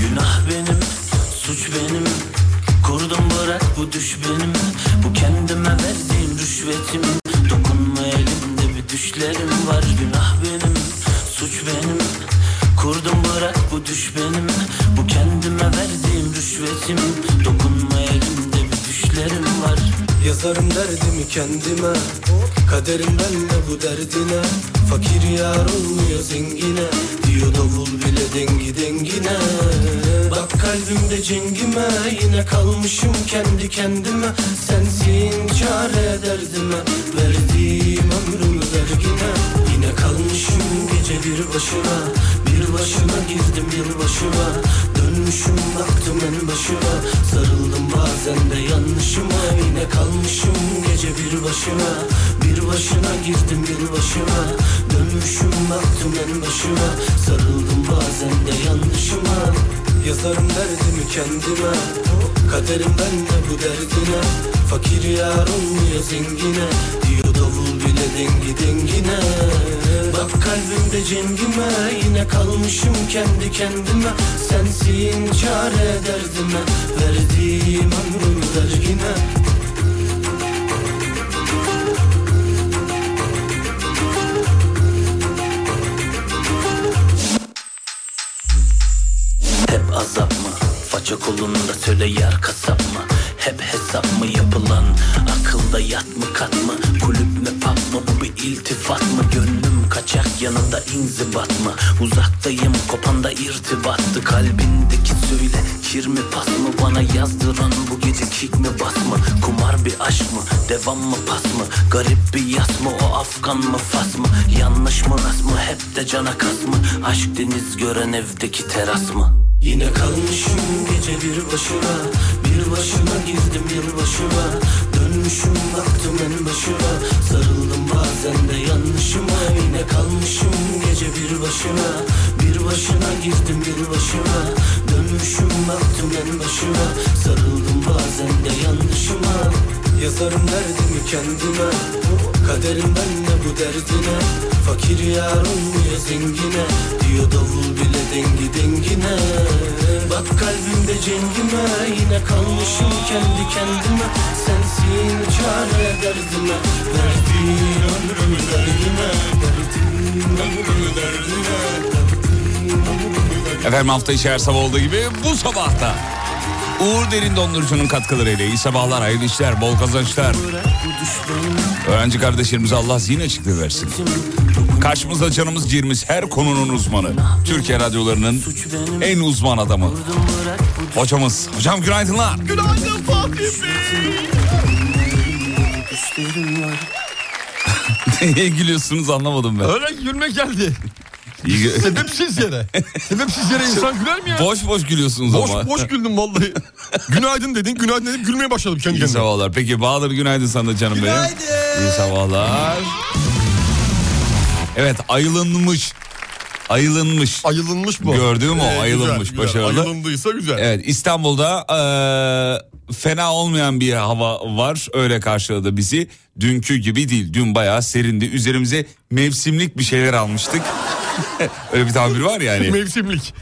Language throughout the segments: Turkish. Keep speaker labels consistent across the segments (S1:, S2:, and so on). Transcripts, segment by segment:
S1: Günah benim, suç benim Kurdum bırak bu düş benim Bu kendime verdiğim rüşvetim Dokunma elimde bir düşlerim var Günah benim, suç benim Kurdum bırak bu düş benim Bu kendime verdiğim rüşvetim Dokunma elimde bir düşlerim var
S2: Yazarım derdimi kendime Kaderim benle bu derdine Fakir yar olmuyor zengine Diyor davul bile dengi dengine Bak kalbimde cengime Yine kalmışım kendi kendime Sensin çare derdime Verdiğim ömrümü vergine Yine kalmışım gece bir başıma Bir başıma girdim yıl başıma Dönmüşüm baktım en başıma Sarıldım bazen de yanlışıma Yine kalmışım gece bir başıma Bir başına girdim yıl başıma Dönmüşüm baktım en başıma Sarıldım bazen de yanlışıma Yazarım derdimi kendime Kaderim benle bu derdine Fakir yar olmuyor zengine Diyor davul bile dengi dengine Bak kalbimde cengime Yine kalmışım kendi kendime Sensin çare derdime Verdiğim ömrümü dergine
S1: Hep azap mı? Faça kolunda töle yer kasap mı? Hep hesap mı yapılan? Akılda yat mı kat mı? Kulüp mü pap mı? Bu bir iltifat mı? Gönlüm kaçak yanında inzibat mı? Uzaktayım kopanda irtibattı Kalbindeki söyle kir mi pas mı? Bana yazdıran bu gece kick mi bas mı? Kumar bir aşk mı? Devam mı pas mı? Garip bir yas mı? O Afgan mı fas mı? Yanlış mı nas mı? Hep de cana kas mı? Aşk deniz gören evdeki teras mı?
S2: Yine kalmışım gece bir başıma Bir başıma girdim yıl başıma Dönmüşüm baktım en başıma Sarıldım bazen de yanlışıma Yine kalmışım gece bir başıma Bir başına girdim yıl başıma Dönmüşüm baktım en başıma Sarıldım bazen de yanlışıma Yazarım derdimi kendime Kaderim benle bu derdine Fakir yar olmuyor zengine Diyor davul bile dengi dengine Bak kalbimde cengime Yine kalmışım kendi kendime Sensin çare derdime Verdiğin ömrümü derdine Verdiğin ömrümü derdine
S3: Efendim hafta içi her sabah olduğu gibi bu sabahta Uğur Derin Dondurucu'nun katkılarıyla iyi sabahlar, hayırlı işler, bol kazançlar. Öğrenci kardeşlerimize Allah zihin açıklığı versin. Karşımızda canımız cirimiz her konunun uzmanı. Türkiye radyolarının en uzman adamı. Hocamız. Hocam günaydınlar.
S1: Günaydın Fatih Bey.
S3: Neye gülüyorsunuz anlamadım ben.
S4: Öyle gülmek geldi.
S3: İyi gö-
S4: Sebepsiz yere. Sebepsiz yere insan güler mi ya?
S3: Şey, boş boş gülüyorsunuz
S4: boş,
S3: ama.
S4: boş güldüm vallahi. günaydın dedin, günaydın dedim gülmeye başladım kendi
S3: İyi
S4: kendime.
S3: sabahlar. Peki Bahadır günaydın sana da canım benim. İyi sabahlar. Evet ayılınmış. Ayılınmış.
S4: Ayılınmış bu.
S3: Gördüğüm o,
S4: Ee, güzel,
S3: ayılınmış,
S4: güzel.
S3: başarılı.
S4: Ayılındıysa güzel.
S3: Evet İstanbul'da eee, fena olmayan bir hava var. Öyle karşıladı bizi. Dünkü gibi değil. Dün bayağı serindi. Üzerimize mevsimlik bir şeyler almıştık. Öyle bir tabir var ya hani.
S4: Mevsimlik.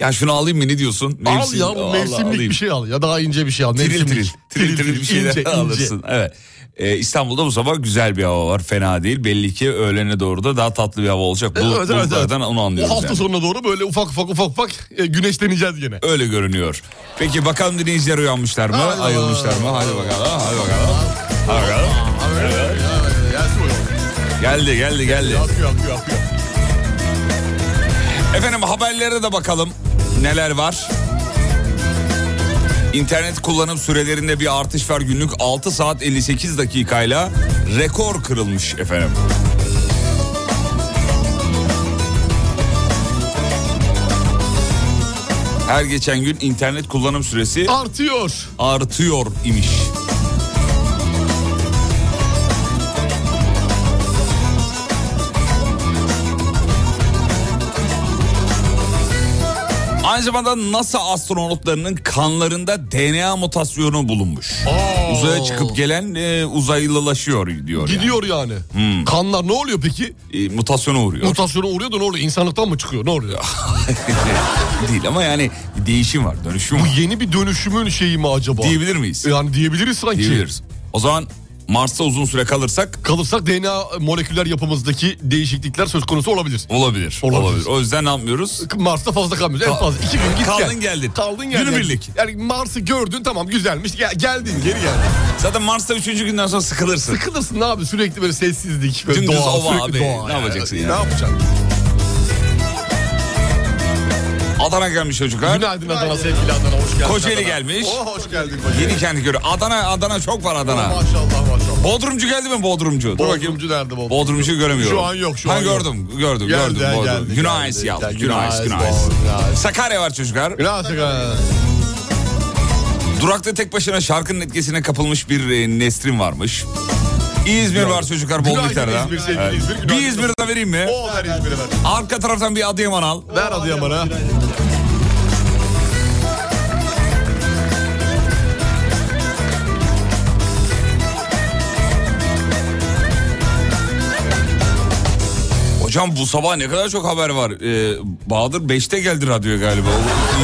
S3: Ya şunu alayım mı ne diyorsun?
S4: Al
S3: Mevsim-
S4: ya
S3: Allah,
S4: mevsimlik
S3: alayım.
S4: bir şey al ya daha ince bir şey al.
S3: Tiril
S4: Mevsimlik.
S3: tiril. Tiril tiril bir şeyler
S4: ince, ince.
S3: alırsın. Evet. Ee, İstanbul'da bu sabah güzel bir hava var. Fena değil. Belli ki öğlene doğru da daha tatlı bir hava olacak. Bu,
S4: Evet, evet, evet.
S3: bulutlardan onu
S4: O
S3: anlıyoruz
S4: E, hafta
S3: yani.
S4: sonuna doğru böyle ufak ufak ufak ufak e, güneşleneceğiz gene.
S3: Öyle görünüyor. Peki bakalım dinleyiciler uyanmışlar mı?
S4: Hadi
S3: Ayılmışlar mı? Hadi bakalım. Hadi bakalım. Hadi bakalım. Geldi geldi geldi.
S4: Akıyor akıyor akıyor.
S3: Efendim haberlere de bakalım neler var. İnternet kullanım sürelerinde bir artış var günlük 6 saat 58 dakikayla rekor kırılmış efendim. Her geçen gün internet kullanım süresi
S4: Artıyor.
S3: artıyor imiş. Aynı zamanda NASA astronotlarının kanlarında DNA mutasyonu bulunmuş.
S4: Aa.
S3: Uzaya çıkıp gelen e, uzaylılaşıyor diyor. yani. Hmm.
S4: Gidiyor yani. Kanlar ne oluyor peki?
S3: E, mutasyona uğruyor.
S4: Mutasyona uğruyor da ne oluyor? İnsanlıktan mı çıkıyor? Ne oluyor?
S3: Değil ama yani bir değişim var, dönüşüm
S4: Bu
S3: var.
S4: yeni bir dönüşümün şeyi mi acaba?
S3: Diyebilir miyiz?
S4: Yani diyebiliriz sanki.
S3: Diyebiliriz. O zaman Mars'ta uzun süre kalırsak
S4: Kalırsak DNA moleküler yapımızdaki değişiklikler söz konusu olabilir.
S3: Olabilir.
S4: Olabilir.
S3: Olabilir. O yüzden ne yapmıyoruz?
S4: Mars'ta fazla kalmıyoruz. En
S3: Kal-
S4: fazla iki gün git
S3: Kaldın
S4: gel.
S3: geldin.
S4: Kaldın geldin.
S3: Günübirlik.
S4: Yani Mars'ı gördün tamam güzelmiş. Gel, geldin geri geldin.
S3: Zaten Mars'ta üçüncü günden sonra sıkılırsın.
S4: Sıkılırsın ne abi sürekli böyle sessizlik. Böyle
S3: Dümdüz
S4: doğa,
S3: ova
S4: sürekli
S3: abi.
S4: doğa.
S3: Ne yapacaksın yani?
S4: Ne yapacaksın?
S3: Adana gelmiş çocuklar.
S4: Günaydın Adana sevgili Adana hoş geldin.
S3: Kocaeli
S4: Adana. Oh.
S3: gelmiş.
S4: Oo, hoş geldin Kocaeli.
S3: Yeni kendi göre. Adana, Adana çok var Adana.
S4: Oh, Maşallah maşallah.
S3: Bodrumcu geldi mi Bodrumcu? Dur bakayım.
S4: Bodrumcu nerede Bodrumcu?
S3: Bodrumcu göremiyorum.
S4: Şu an yok, şu
S3: ha,
S4: an yok.
S3: gördüm, gördüm,
S4: Geldi,
S3: gördüm. Bodrum.
S4: geldi,
S3: Günahis
S4: geldi.
S3: yaldı.
S4: Geldi,
S3: Günahis,
S4: Günahis,
S3: günahis.
S4: Günahis.
S3: Sakarya var çocuklar.
S4: Birazcık ha.
S3: Durakta tek başına şarkının etkisine kapılmış bir e, Nesrin varmış. İzmir var çocuklar bol
S4: Günaydın
S3: miktarda.
S4: İzmir, sevgili İzmir, günaydın.
S3: Bir İzmir'i de vereyim mi?
S4: O ver İzmir'e ver.
S3: Arka taraftan bir Adıyaman al.
S4: Ver Adıyaman'a.
S3: Hocam bu sabah ne kadar çok haber var. Ee, Bahadır 5'te geldi radyo galiba.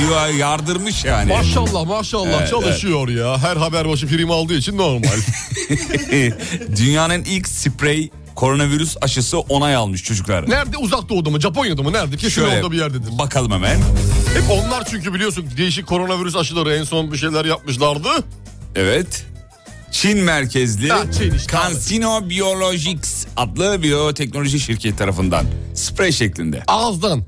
S3: O ya- Yardırmış yani.
S4: Maşallah maşallah çalışıyor ya. Her haber başı prim aldığı için normal.
S3: Dünyanın ilk sprey koronavirüs aşısı onay almış çocuklar.
S4: nerede uzak doğuda mı Japonya'da mı nerede? Kesin orada bir yerdedir.
S3: Bakalım hemen.
S4: Hep onlar çünkü biliyorsun değişik koronavirüs aşıları en son bir şeyler yapmışlardı.
S3: Evet. Çin merkezli
S4: Ha, Çin işte.
S3: CanSino Biologics adlı biyoteknoloji şirketi tarafından sprey şeklinde.
S4: Ağızdan.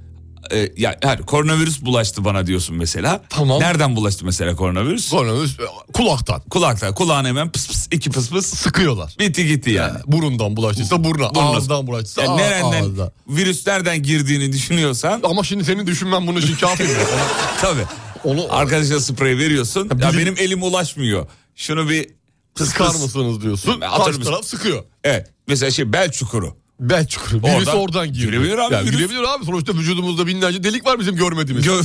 S3: Ee, ya hayır, koronavirüs bulaştı bana diyorsun mesela.
S4: Tamam.
S3: Nereden bulaştı mesela koronavirüs?
S4: Koronavirüs e, kulaktan
S3: Kulakta. Kulağına hemen pıs pıs iki pıs pıs.
S4: sıkıyorlar.
S3: Bitti gitti yani.
S4: Burundan bulaştıysa buruna,
S3: Burnuna-
S4: ağızdan bulaştıysa
S3: Yani
S4: ağ-
S3: nereden
S4: ağızdan.
S3: virüs nereden girdiğini düşünüyorsan
S4: Ama şimdi senin düşünmen bunun için kafi mi?
S3: tabii.
S4: Onu-
S3: Arkadaşa sprey veriyorsun. Ya
S4: bilim-
S3: benim elim ulaşmıyor. Şunu bir pıs
S4: Sıkar
S3: pıs.
S4: mısınız diyorsun.
S3: Atar
S4: Karşı
S3: mısın?
S4: taraf sıkıyor.
S3: Evet. Mesela şey bel çukuru.
S4: Ben çukurum. Virüs
S3: Oradan-
S4: oradan, giriyor.
S3: Girebilir abi,
S4: Ya
S3: virüs.
S4: girebilir abi. Sonuçta vücudumuzda binlerce delik var bizim görmediğimiz.
S3: Gö-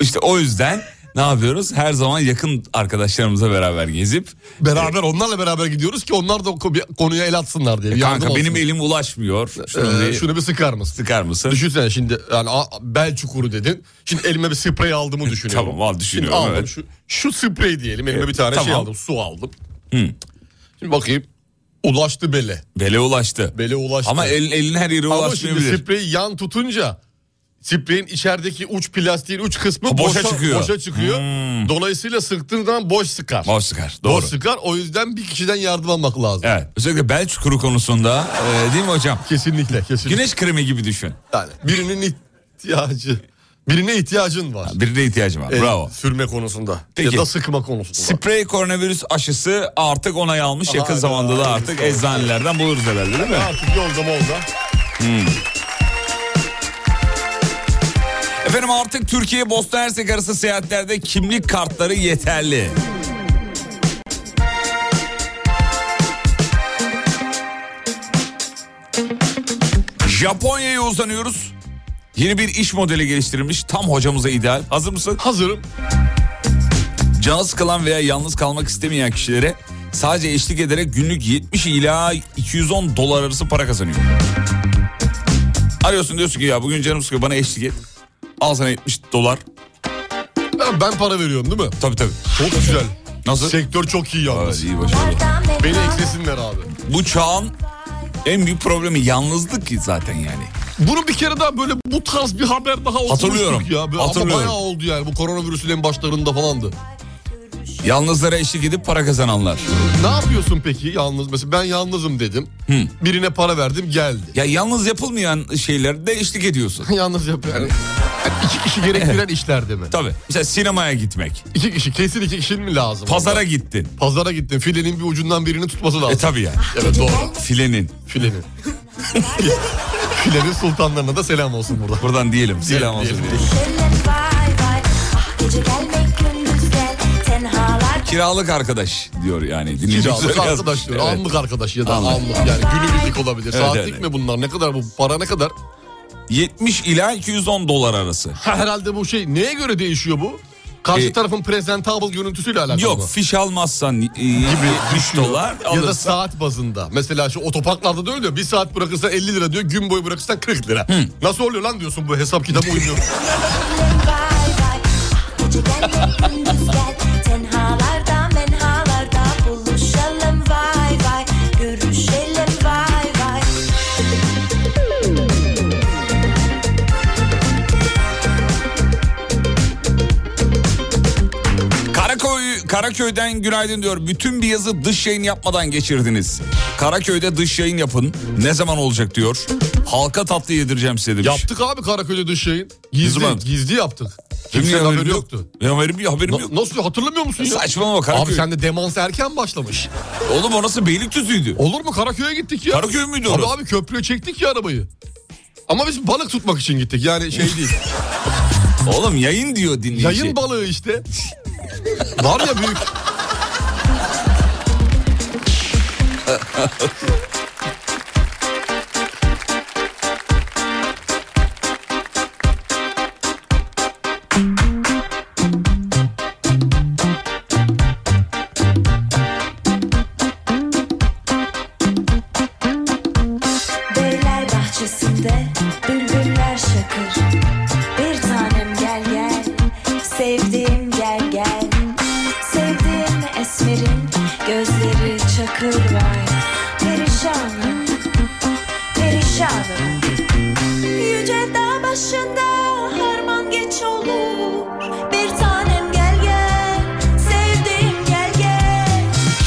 S3: işte o yüzden ne yapıyoruz? Her zaman yakın arkadaşlarımıza beraber gezip
S4: beraber onlarla beraber gidiyoruz ki onlar da ko- bir konuya el atsınlar diye. bir yardım
S3: E kanka benim
S4: olsun.
S3: elim ulaşmıyor. Şunu
S4: Ee,
S3: bir
S4: şunu bir sıkar mısın?
S3: sıkar mısın?
S4: Düşünsene şimdi yani a- bel çukuru dedin. Şimdi elime bir sprey aldığımı düşünüyorum.
S3: Tamam, al düşünüyorum,
S4: Şimdi aldım
S3: evet.
S4: şu, şu sprey diyelim elime
S3: Evet,
S4: bir tane şey
S3: tamam.
S4: aldım su aldım. Şimdi bakayım ulaştı bele.
S3: Bele ulaştı.
S4: Bele ulaştı.
S3: Ama el, elin her yere
S4: Ama şimdi
S3: ulaşmayabilir.
S4: spreyi yan tutunca spreyin içerideki uç plastiğin uç kısmı
S3: Ha, boşa
S4: boşa, boşa
S3: çıkıyor. Hmm.
S4: çıkıyor. Dolayısıyla sıktığın zaman boş sıkar.
S3: Boş sıkar, doğru.
S4: Boş sıkar o yüzden bir kişiden yardım almak lazım.
S3: Evet. Özellikle bel çukuru konusunda e, değil mi hocam?
S4: Kesinlikle kesinlikle.
S3: Güneş kremi gibi düşün.
S4: Yani birinin ihtiyacı. Birine ihtiyacın var.
S3: Birine ihtiyacım var.
S4: El
S3: Bravo.
S4: Sürme konusunda.
S3: Peki.
S4: Ya da sıkma konusunda.
S3: Sprey koronavirüs aşısı artık onay almış. Yakın
S4: Hayda.
S3: zamanda da artık eczanelerden buluruz herhalde değil mi?
S4: Artık yolda molda.
S3: Hmm. Efendim artık Türkiye Bosna Hersek arası seyahatlerde kimlik kartları yeterli. Japonya'ya uzanıyoruz. Yeni bir iş modeli geliştirilmiş. Tam hocamıza ideal. Hazır mısın?
S4: Hazırım.
S3: Canı sıkılan veya yalnız kalmak istemeyen kişilere sadece eşlik ederek günlük 70 ila 210 dolar arası para kazanıyor. Arıyorsun diyorsun ki ya bugün canım sıkıyor bana eşlik et. Al sana 70 dolar.
S4: Ben, ben para veriyorum değil mi?
S3: Tabii tabii.
S4: Çok güzel.
S3: Nasıl?
S4: Sektör çok iyi
S3: Evet,
S4: yalnız.
S3: iyi başarılı.
S4: Beni eklesinler abi.
S3: Bu çağın en büyük problemi yalnızlık ki zaten yani.
S4: Bunu bir kere daha böyle bu tarz bir haber daha okumuştuk
S3: Hatırlıyorum,
S4: ya. Böyle
S3: hatırlıyorum.
S4: Ama bayağı oldu yani bu koronavirüsün en başlarında falandı.
S3: Yalnızlara eşlik edip para kazananlar.
S4: Ne yapıyorsun peki yalnız? Mesela ben yalnızım dedim. Birine para verdim geldi.
S3: Ya yalnız yapılmayan şeylerde eşlik ediyorsun.
S4: yalnız yap yani. Yani iki kişi gerektiren işler değil mi?
S3: Tabii. Mesela sinemaya gitmek.
S4: İki kişi kesin iki kişinin mi lazım?
S3: Pazara gittin.
S4: Pazara gittin filenin bir ucundan birini tutması
S3: E
S4: lazım.
S3: tabii yani.
S4: evet doğru
S3: Filenin.
S4: filenin. Türkülerin sultanlarına da selam olsun burada.
S3: Buradan diyelim. Selam olsun.
S4: Diyelim,
S3: diyelim. Kiralık arkadaş diyor yani. Dinleyici
S4: Kiralık
S3: olarak
S4: arkadaş
S3: yazmış.
S4: diyor.
S3: Evet.
S4: Anlık arkadaş ya da
S3: Anlık.
S4: anlık. Yani günübirlik olabilir.
S3: Evet,
S4: Saatlik
S3: evet.
S4: mi bunlar? Ne kadar bu? Para ne kadar?
S3: 70 ila 210 dolar arası.
S4: Ha, herhalde bu şey neye göre değişiyor bu? Karşı
S3: E,
S4: tarafın presentable görüntüsüyle alakalı mı?
S3: Yok fiş almazsan gibi 3 dolar
S4: Ya da
S3: alırsan.
S4: saat bazında. Mesela şu otoparklarda da öyle diyor. Bir saat bırakırsan 50 lira diyor. Gün boyu bırakırsan 40 lira. Nasıl oluyor lan diyorsun bu hesap kitabı uymuyor.
S5: Tenhalarda menhalarda buluşalım vay vay Görüşelim vay vay
S3: Karaköy, Karaköy'den günaydın diyor. Bütün bir yazı dış yayın yapmadan geçirdiniz. Karaköy'de dış yayın yapın. Ne zaman olacak diyor. Halka tatlı yedireceğim size demiş.
S4: yaptık abi Karaköy'de dış yayın. Gizli,
S3: zaman?
S4: gizli yaptık.
S3: Kimsenin
S4: Kimsenin haberi yoktu.
S3: Ya Haberim yok. Haberim
S4: Na-
S3: yok.
S4: nasıl hatırlamıyor musun ya?
S3: Saçmalama Karaköy.
S4: Abi sende demans erken başlamış.
S3: Oğlum orası Beylikdüzü'ydü.
S4: Olur mu Karaköy'e gittik ya.
S3: Karaköy müydü
S4: Tabii
S3: orası?
S4: abi köprüye çektik ya arabayı. Ama biz balık tutmak için gittik yani şey değil.
S3: Oğlum şey- yayın diyor dinleyici.
S4: Yayın balığı işte. Var ya büyük.
S5: Beyler bahçesinde bülbüller şakır Bir tanem gel gel sevdiğim gel gel Sevdiğim esmerin gözleri çakır vay Perişanım perişanım Yüce dağ başında harman geç olur Bir tanem gel gel sevdiğim gel gel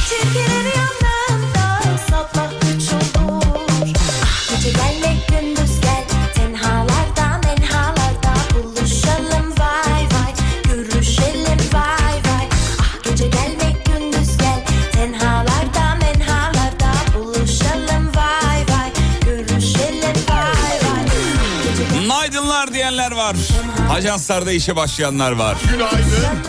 S5: Çirkinin yanlarında sabah üç olur Ah gece gel ve gündüz gel Tenhalarda menhalarda buluşalım vay vay Görüşelim vay vay Ah gece gel ve gündüz gel Tenhalarda menhalarda buluşalım vay vay Görüşelim vay vay Gece gel
S3: Günaydınlar diyenler var. Ajanslarda işe başlayanlar var.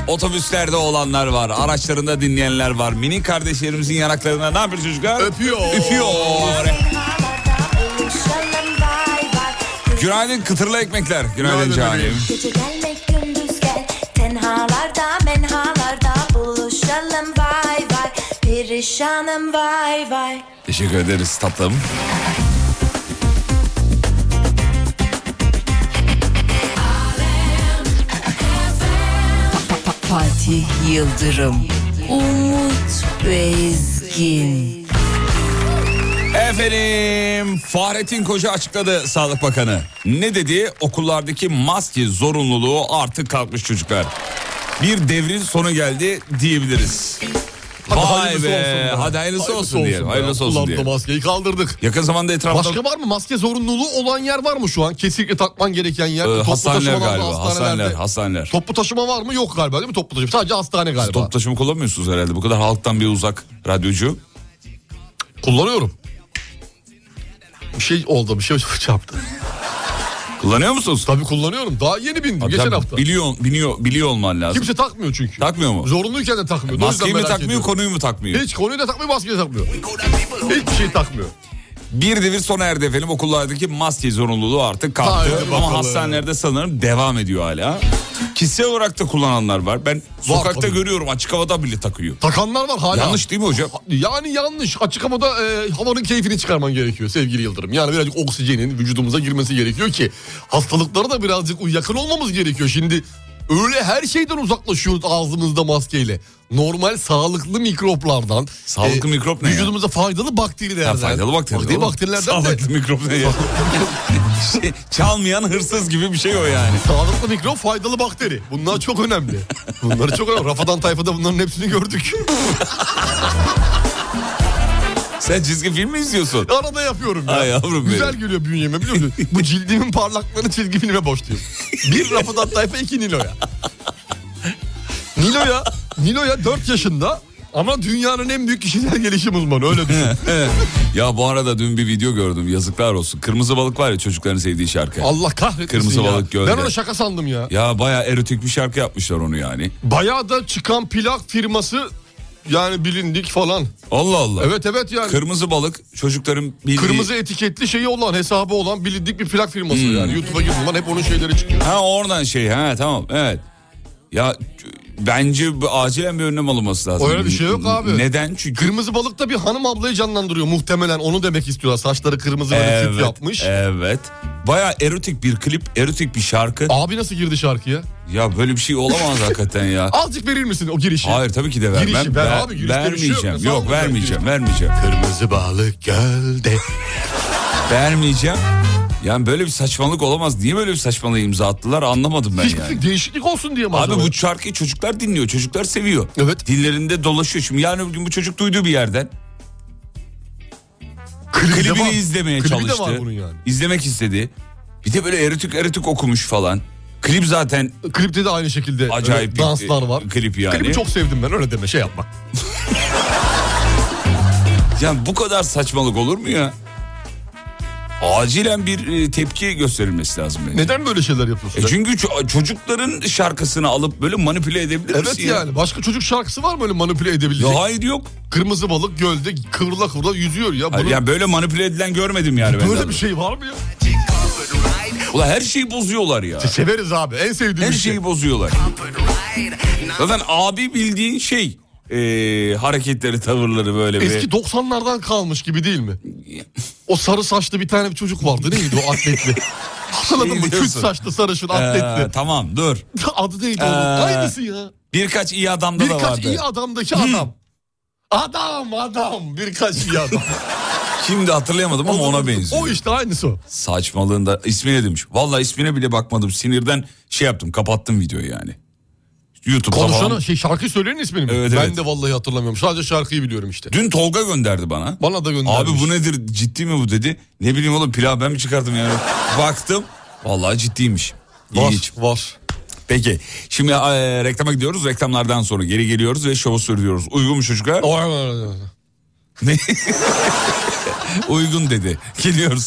S3: Otobüslerde olanlar var. Araçlarında dinleyenler var. Mini kardeşlerimizin yanaklarına ne yapıyor çocuklar?
S4: Öpüyor.
S3: Öpüyor.
S5: Tenhalarda buluşalım vay vay
S3: Günaydın kıtırlı ekmekler. Günaydın
S4: Günaydın
S3: Canim.
S5: Gece gelmek gündüz gel Tenhalarda menhalarda buluşalım vay vay Perişanım vay vay
S3: Teşekkür ederiz tatlım.
S6: Fa- Fatih Yıldırım, Umut Bezgin.
S3: Efendim Fahrettin Koca açıkladı Sağlık Bakanı. Ne dedi? Okullardaki maske zorunluluğu artık kalkmış çocuklar. Bir devrin sonu geldi diyebiliriz.
S4: Hadi
S3: Vay
S4: hayırlısı
S3: be.
S4: olsun be.
S3: Hadi hayırlısı olsun diyelim.
S4: be.
S3: Hayırlısı olsun
S4: Ulan da
S3: diyelim.
S4: maskeyi kaldırdık.
S3: Yakın zamanda etrafta
S4: Başka var mı? Maske zorunluluğu olan yer var mı şu an? Kesinlikle takman gereken yer.
S3: Ee,
S4: Toplu
S3: hastaneler
S4: taşımalarda,
S3: galiba. Hastaneler,
S4: hastanelerde.
S3: hastaneler.
S4: Toplu taşıma var mı? Yok galiba değil mi? Toplu taşıma. Sadece hastane galiba.
S3: Top taşıma kullanmıyorsunuz herhalde. Bu kadar halktan bir uzak radyocu.
S4: Kullanıyorum. Bir şey oldu. Bir şey çarptı.
S3: Kullanıyor musunuz?
S4: Tabii kullanıyorum. Daha yeni bindim.
S3: Abi
S4: geçen
S3: tabii
S4: hafta.
S3: Biliyor, biliyor, biliyor olman lazım.
S4: Kimse takmıyor çünkü.
S3: Takmıyor mu?
S4: Zorunluyken de takmıyor. O yüzden
S3: Maskeyi mi
S4: merak
S3: takmıyor,
S4: ediyorum.
S3: konuyu mu takmıyor?
S4: Hiç konuyu da takmıyor, maskeyi de takmıyor. Hiçbir şey takmıyor.
S3: Bir devir sona erdi efendim. Okullardaki maske zorunluluğu artık kalktı.
S4: Haydi
S3: Ama
S4: bakalım.
S3: hastanelerde sanırım devam ediyor hala. Kişisel olarak da kullananlar var. Ben sokakta
S4: tabii.
S3: görüyorum açık havada bile takıyor.
S4: Takanlar var hala.
S3: Yanlış değil mi hocam?
S4: Yani yanlış. Açık havada e, havanın keyfini çıkarman gerekiyor sevgili Yıldırım. Yani birazcık oksijenin vücudumuza girmesi gerekiyor ki hastalıklara da birazcık yakın olmamız gerekiyor. Şimdi öyle her şeyden uzaklaşıyoruz ağzımızda maskeyle. Normal sağlıklı mikroplardan. E,
S3: Sağlıklı mikrop ne ya?
S4: Vücudumuza faydalı
S3: Ya
S4: bakterilerden.
S3: faydalı bakteriler.
S4: Faydalı
S3: oğlum.
S4: bakterilerden de
S3: Sağlıklı mikrop ne ya? Şey, çalmayan hırsız gibi bir şey o yani.
S4: Sağlıklı mikrop faydalı bakteri. Bunlar çok önemli. Bunlar çok önemli. Rafadan tayfada bunların hepsini gördük.
S3: Sen çizgi film mi izliyorsun?
S4: Arada yapıyorum ya.
S3: Ay yavrum benim.
S4: Güzel geliyor bünyeme biliyor musun? Bu cildimin parlaklığını çizgi filme borçluyum. Bir Rafadan tayfa iki Nilo'ya. Nilo'ya, Nilo'ya 4 yaşında Ama dünyanın en büyük kişisel gelişim uzmanı öyle düşün.
S3: ya bu arada dün bir video gördüm yazıklar olsun. Kırmızı balık var ya çocukların sevdiği şarkı.
S4: Allah kahretmesin
S3: Kırmızı
S4: ya.
S3: balık gölde.
S4: Ben onu şaka sandım ya.
S3: Ya baya erotik bir şarkı yapmışlar onu yani.
S4: Bayağı da çıkan plak firması yani bilindik falan.
S3: Allah Allah.
S4: Evet evet yani.
S3: Kırmızı balık çocukların bildiği...
S4: Kırmızı etiketli şeyi olan hesabı olan bilindik bir plak firması
S3: Hmm.
S4: yani. YouTube'a girdim lan hep onun şeyleri çıkıyor.
S3: Ha oradan şey ha tamam evet. Ya bence bu- acilen bir önlem alınması lazım.
S4: Öyle bir şey yok abi.
S3: Neden? Çünkü
S4: Kırmızı balıkta bir hanım ablayı canlandırıyor muhtemelen onu demek istiyorlar. Saçları kırmızı böyle
S3: evet,
S4: küp yapmış.
S3: Evet. Baya erotik bir klip, erotik bir şarkı.
S4: Abi nasıl girdi şarkıya?
S3: Ya böyle bir şey olamaz hakikaten ya.
S4: Azıcık verir misin o girişi?
S3: Hayır tabii ki de vermem.
S4: Girişi ver abi, girişte bir şey yok.
S3: vermeyeceğim.
S4: Sağ
S3: yok
S4: olun,
S3: vermeyeceğim,
S4: girişi.
S3: vermeyeceğim.
S4: Kırmızı balık gölde.
S3: Vermeyeceğim. Yani böyle bir saçmalık olamaz. Niye böyle bir saçmalığa imza attılar anlamadım ben
S4: Hiçbir
S3: yani.
S4: şey- değişiklik olsun diye mi
S3: Abi
S4: acaba?
S3: bu şarkıyı çocuklar dinliyor, çocuklar seviyor.
S4: Evet.
S3: Dillerinde dolaşıyor. Şimdi yarın öbür gün bu çocuk duyduğu bir yerden
S4: Klibi de
S3: klibini
S4: var.
S3: izlemeye
S4: Klibi
S3: çalıştı.
S4: de var bunun yani.
S3: İzlemek istedi. Bir de böyle erotik erotik okumuş falan. Klip zaten
S4: Klipte de aynı şekilde
S3: Acayip
S4: e,
S3: bir,
S4: danslar var.
S3: e, klip yani.
S4: Klibi çok sevdim ben öyle deme şey yapma.
S3: yani bu kadar saçmalık olur mu ya? Acilen bir e, tepki gösterilmesi lazım bence.
S4: Neden böyle şeyler yapıyorsun?
S3: E çünkü ço- çocukların şarkısını alıp böyle manipüle edebilir
S4: evet
S3: misin
S4: yani.
S3: ya?
S4: başka çocuk şarkısı var mı öyle manipüle edebilecek?
S3: Ya hayır yok.
S4: Kırmızı balık gölde kıvrıla kıvrıla yüzüyor ya.
S3: Hayır,
S4: Bunun-
S3: yani böyle manipüle edilen görmedim yani ben.
S4: böyle
S3: de.
S4: bir şey var mı ya?
S3: Ulan her şeyi bozuyorlar ya.
S4: Severiz abi en sevdiğim
S3: Her
S4: bir şey.
S3: şeyi bozuyorlar. Zaten abi bildiğin şey e, hareketleri, tavırları böyle bir.
S4: Eski 90'lardan kalmış gibi değil mi? O sarı saçlı bir tane bir çocuk vardı neydi o atletli? Hatırladın
S3: Şey
S4: mı? Küt
S3: diyorsun.
S4: saçlı sarışın
S3: Ee,
S4: atletli.
S3: tamam dur.
S4: Adı neydi
S3: Ee,
S4: onun? Aynısı ya.
S3: Birkaç iyi adamda da
S4: Birkaç
S3: vardı. Hmm.
S4: iyi adamdaki adam. Adam adam birkaç iyi adam.
S3: Şimdi hatırlayamadım ama ona benziyor.
S4: O işte aynısı o.
S3: Saçmalığında ismine demiş. Vallahi ismine bile bakmadım. Sinirden şey yaptım kapattım videoyu yani. YouTube'da
S4: Konuşanı
S3: falan.
S4: şey şarkıyı söyleyenin ismini mi?
S3: Evet,
S4: ben
S3: evet.
S4: de vallahi hatırlamıyorum. Sadece şarkıyı biliyorum işte.
S3: Dün Tolga gönderdi bana.
S4: Bana da göndermiş.
S3: Abi bu nedir ciddi mi bu dedi. Ne bileyim oğlum pilav ben mi çıkardım yani. Baktım. Vallahi ciddiymiş.
S4: Var,
S3: İyi iç.
S4: var.
S3: Peki şimdi e, reklama gidiyoruz. Reklamlardan sonra geri geliyoruz ve şovu sürdürüyoruz. Uygun mu çocuklar?
S4: Var, var, var, var.
S3: Ne? Uygun dedi. Geliyoruz.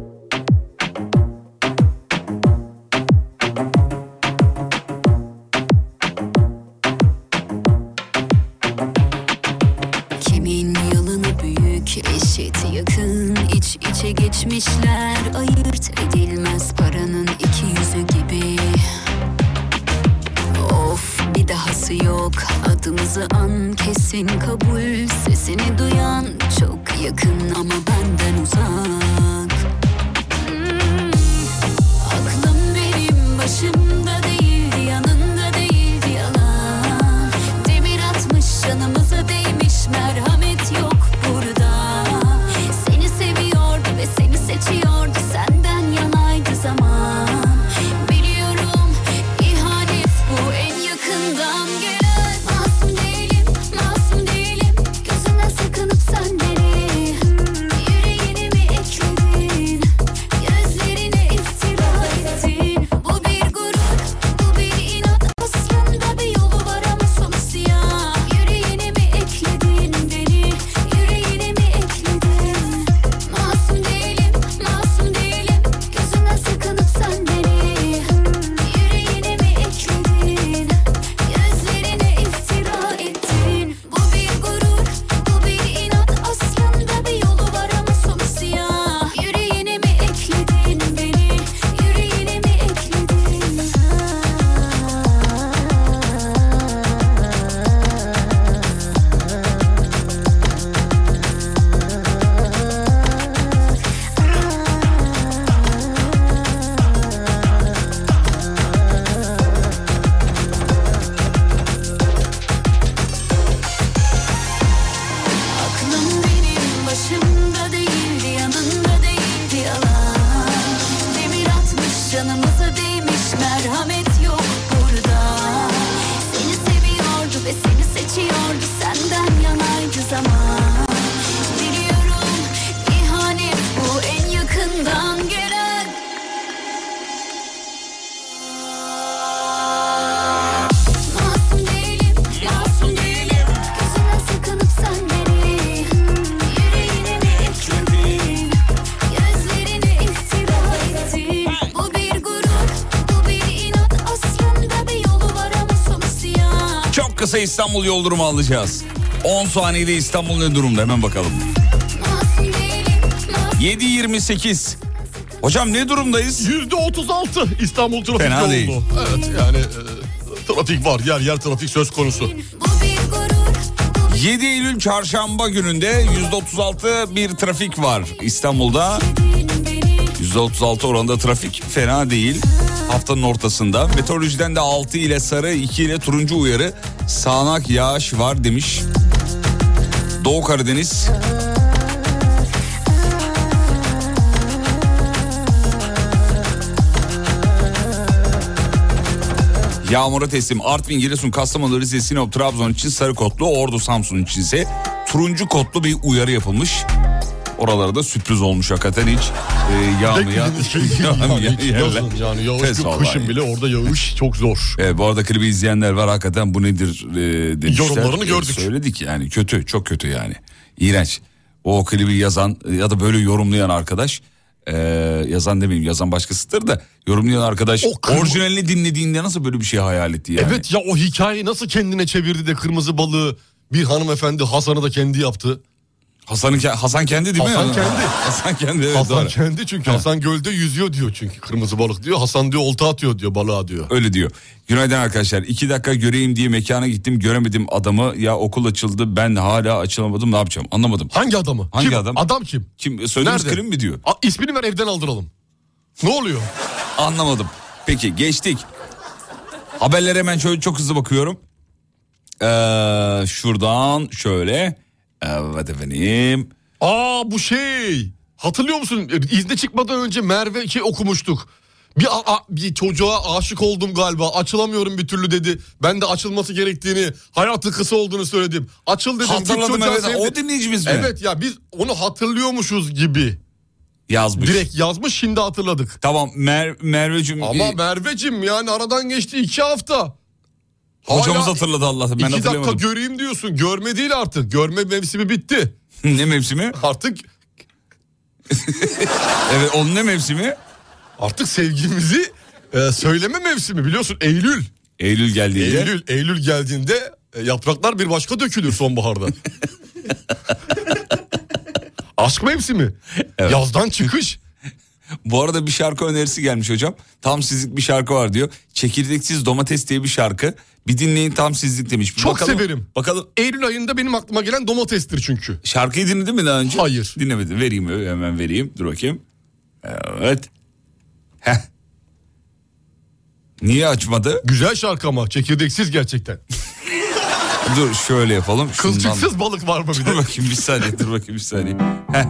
S7: Kimin yılını büyük eşit yakın iç içe geçmişler ayırt edilmez paranın iki yüzü gibi Of bir dahası yok adımızı an kesin kabul sesini duyan çok yakın ama benden uzak Hmm, Aklım benim başımda değildi yanında değildi yalan Demir atmış canımıza değmiş merhamet yok burada Seni seviyordu ve seni seçiyordu senden yanaydı zaman Biliyorum ihanet bu en yakından gelen Masum değilim masum değilim gözünden sakınıp senden Yüreğini mi ekledin?
S3: kısa İstanbul yol durumu alacağız. 10 saniyede İstanbul ne durumda hemen bakalım. 7.28. Hocam ne durumdayız?
S4: %36 İstanbul trafik
S3: Fena
S4: yoğunluğu.
S3: değil.
S4: Evet yani e, trafik var. Yer yer trafik söz konusu.
S3: 7 Eylül çarşamba gününde %36 bir trafik var İstanbul'da. %36 oranda trafik fena değil. Haftanın ortasında. Meteorolojiden de 6 ile sarı, 2 ile turuncu uyarı. Sağanak yağış var demiş. Doğu Karadeniz. Yağmura teslim. Artvin, Giresun, Kastamonu, Rize, Sinop, Trabzon için sarı kodlu. Ordu, Samsun için ise turuncu kodlu bir uyarı yapılmış. Oralara da sürpriz olmuş hakikaten hiç e, yağmayan,
S4: Beklediğiniz şey değil.
S3: yağmayan
S4: Yani hiç
S3: yerler.
S4: yazın yani yağış
S3: Pes
S4: yok.
S3: vallahi.
S4: Kışın bile orada yağış çok zor.
S3: E, bu arada klibi izleyenler var hakikaten bu nedir e, demişler.
S4: Yorumlarını
S3: E,
S4: gördük.
S3: söyledik yani kötü çok kötü yani. İğrenç. O klibi yazan e, ya da böyle yorumlayan arkadaş e, yazan demeyeyim yazan başkasıdır da yorumlayan arkadaş
S4: O kırm-
S3: orijinalini dinlediğinde nasıl böyle bir şey hayal etti yani.
S4: Evet ya o hikayeyi nasıl kendine çevirdi de kırmızı balığı bir hanımefendi Hasan'ı da kendi yaptı.
S3: Hasan'ın ke- Hasan kendi değil mi?
S4: Hasan
S3: Yani?
S4: kendi.
S3: Hasan kendi evet
S4: Hasan
S3: doğru.
S4: kendi çünkü Hasan gölde yüzüyor diyor çünkü kırmızı balık diyor. Hasan diyor olta atıyor diyor balığa diyor.
S3: Öyle diyor. Günaydın arkadaşlar. İki dakika göreyim diye mekana gittim göremedim adamı. Ya okul açıldı ben hala açılamadım ne yapacağım anlamadım.
S4: Hangi adamı?
S3: Hangi
S4: kim?
S3: adam?
S4: Adam kim?
S3: Kim söylediğimiz
S4: Nerede?
S3: krim mi diyor?
S4: A, ismini ver evden aldıralım. Ne oluyor?
S3: Anlamadım. Peki geçtik. Haberlere hemen şöyle çok hızlı bakıyorum. Ee, şuradan şöyle. Evet efendim.
S4: Aa bu şey. Hatırlıyor musun? E, İzne çıkmadan önce Merve şey okumuştuk. Bir, a- a- bir çocuğa aşık oldum galiba. Açılamıyorum bir türlü dedi. Ben de açılması gerektiğini, hayatın kısa olduğunu söyledim. Açıl dedim. git
S3: Hatırladım
S4: çocuğa
S3: evet.
S4: sevdi.
S3: O dinleyicimiz mi?
S4: Evet ya biz onu hatırlıyormuşuz gibi.
S3: Yazmış.
S4: Direkt yazmış şimdi hatırladık.
S3: Tamam Mer Merveciğim.
S4: Ama
S3: e,
S4: Merveciğim yani aradan geçti iki hafta.
S3: hocamız
S4: hala
S3: hatırladı Allah'ım. Ben
S4: iki dakika
S3: hatırlayamadım.
S4: göreyim diyorsun. Görme değil artık. Görme mevsimi bitti.
S3: ne mevsimi?
S4: Artık
S3: Evet onun ne mevsimi?
S4: artık sevgimizi e, söyleme mevsimi biliyorsun Eylül.
S3: Eylül geldiğinde.
S4: Eylül Eylül geldiğinde e, yapraklar bir başka dökülür sonbaharda. Aşk mevsimi. Yazdan çıkış.
S3: Bu arada bir şarkı önerisi gelmiş hocam. Tam sizlik bir şarkı var diyor. Çekirdeksiz domates diye bir şarkı. Bir dinleyin tam sizlik demiş. Bir
S4: Çok
S3: bakalım,
S4: severim.
S3: Bakalım
S4: Eylül ayında benim aklıma gelen domatestir çünkü.
S3: Şarkıyı dinledin mi daha önce?
S4: Hayır.
S3: Dinlemedim. Vereyim hemen vereyim. Dur bakayım. Evet. Heh. Niye açmadı?
S4: Güzel şarkı ama çekirdeksiz gerçekten.
S3: Dur şöyle yapalım. Şundan-
S4: Kılçıksız balık var mı bir de?
S3: Dur bakayım bir saniye dur bakayım bir saniye. Heh.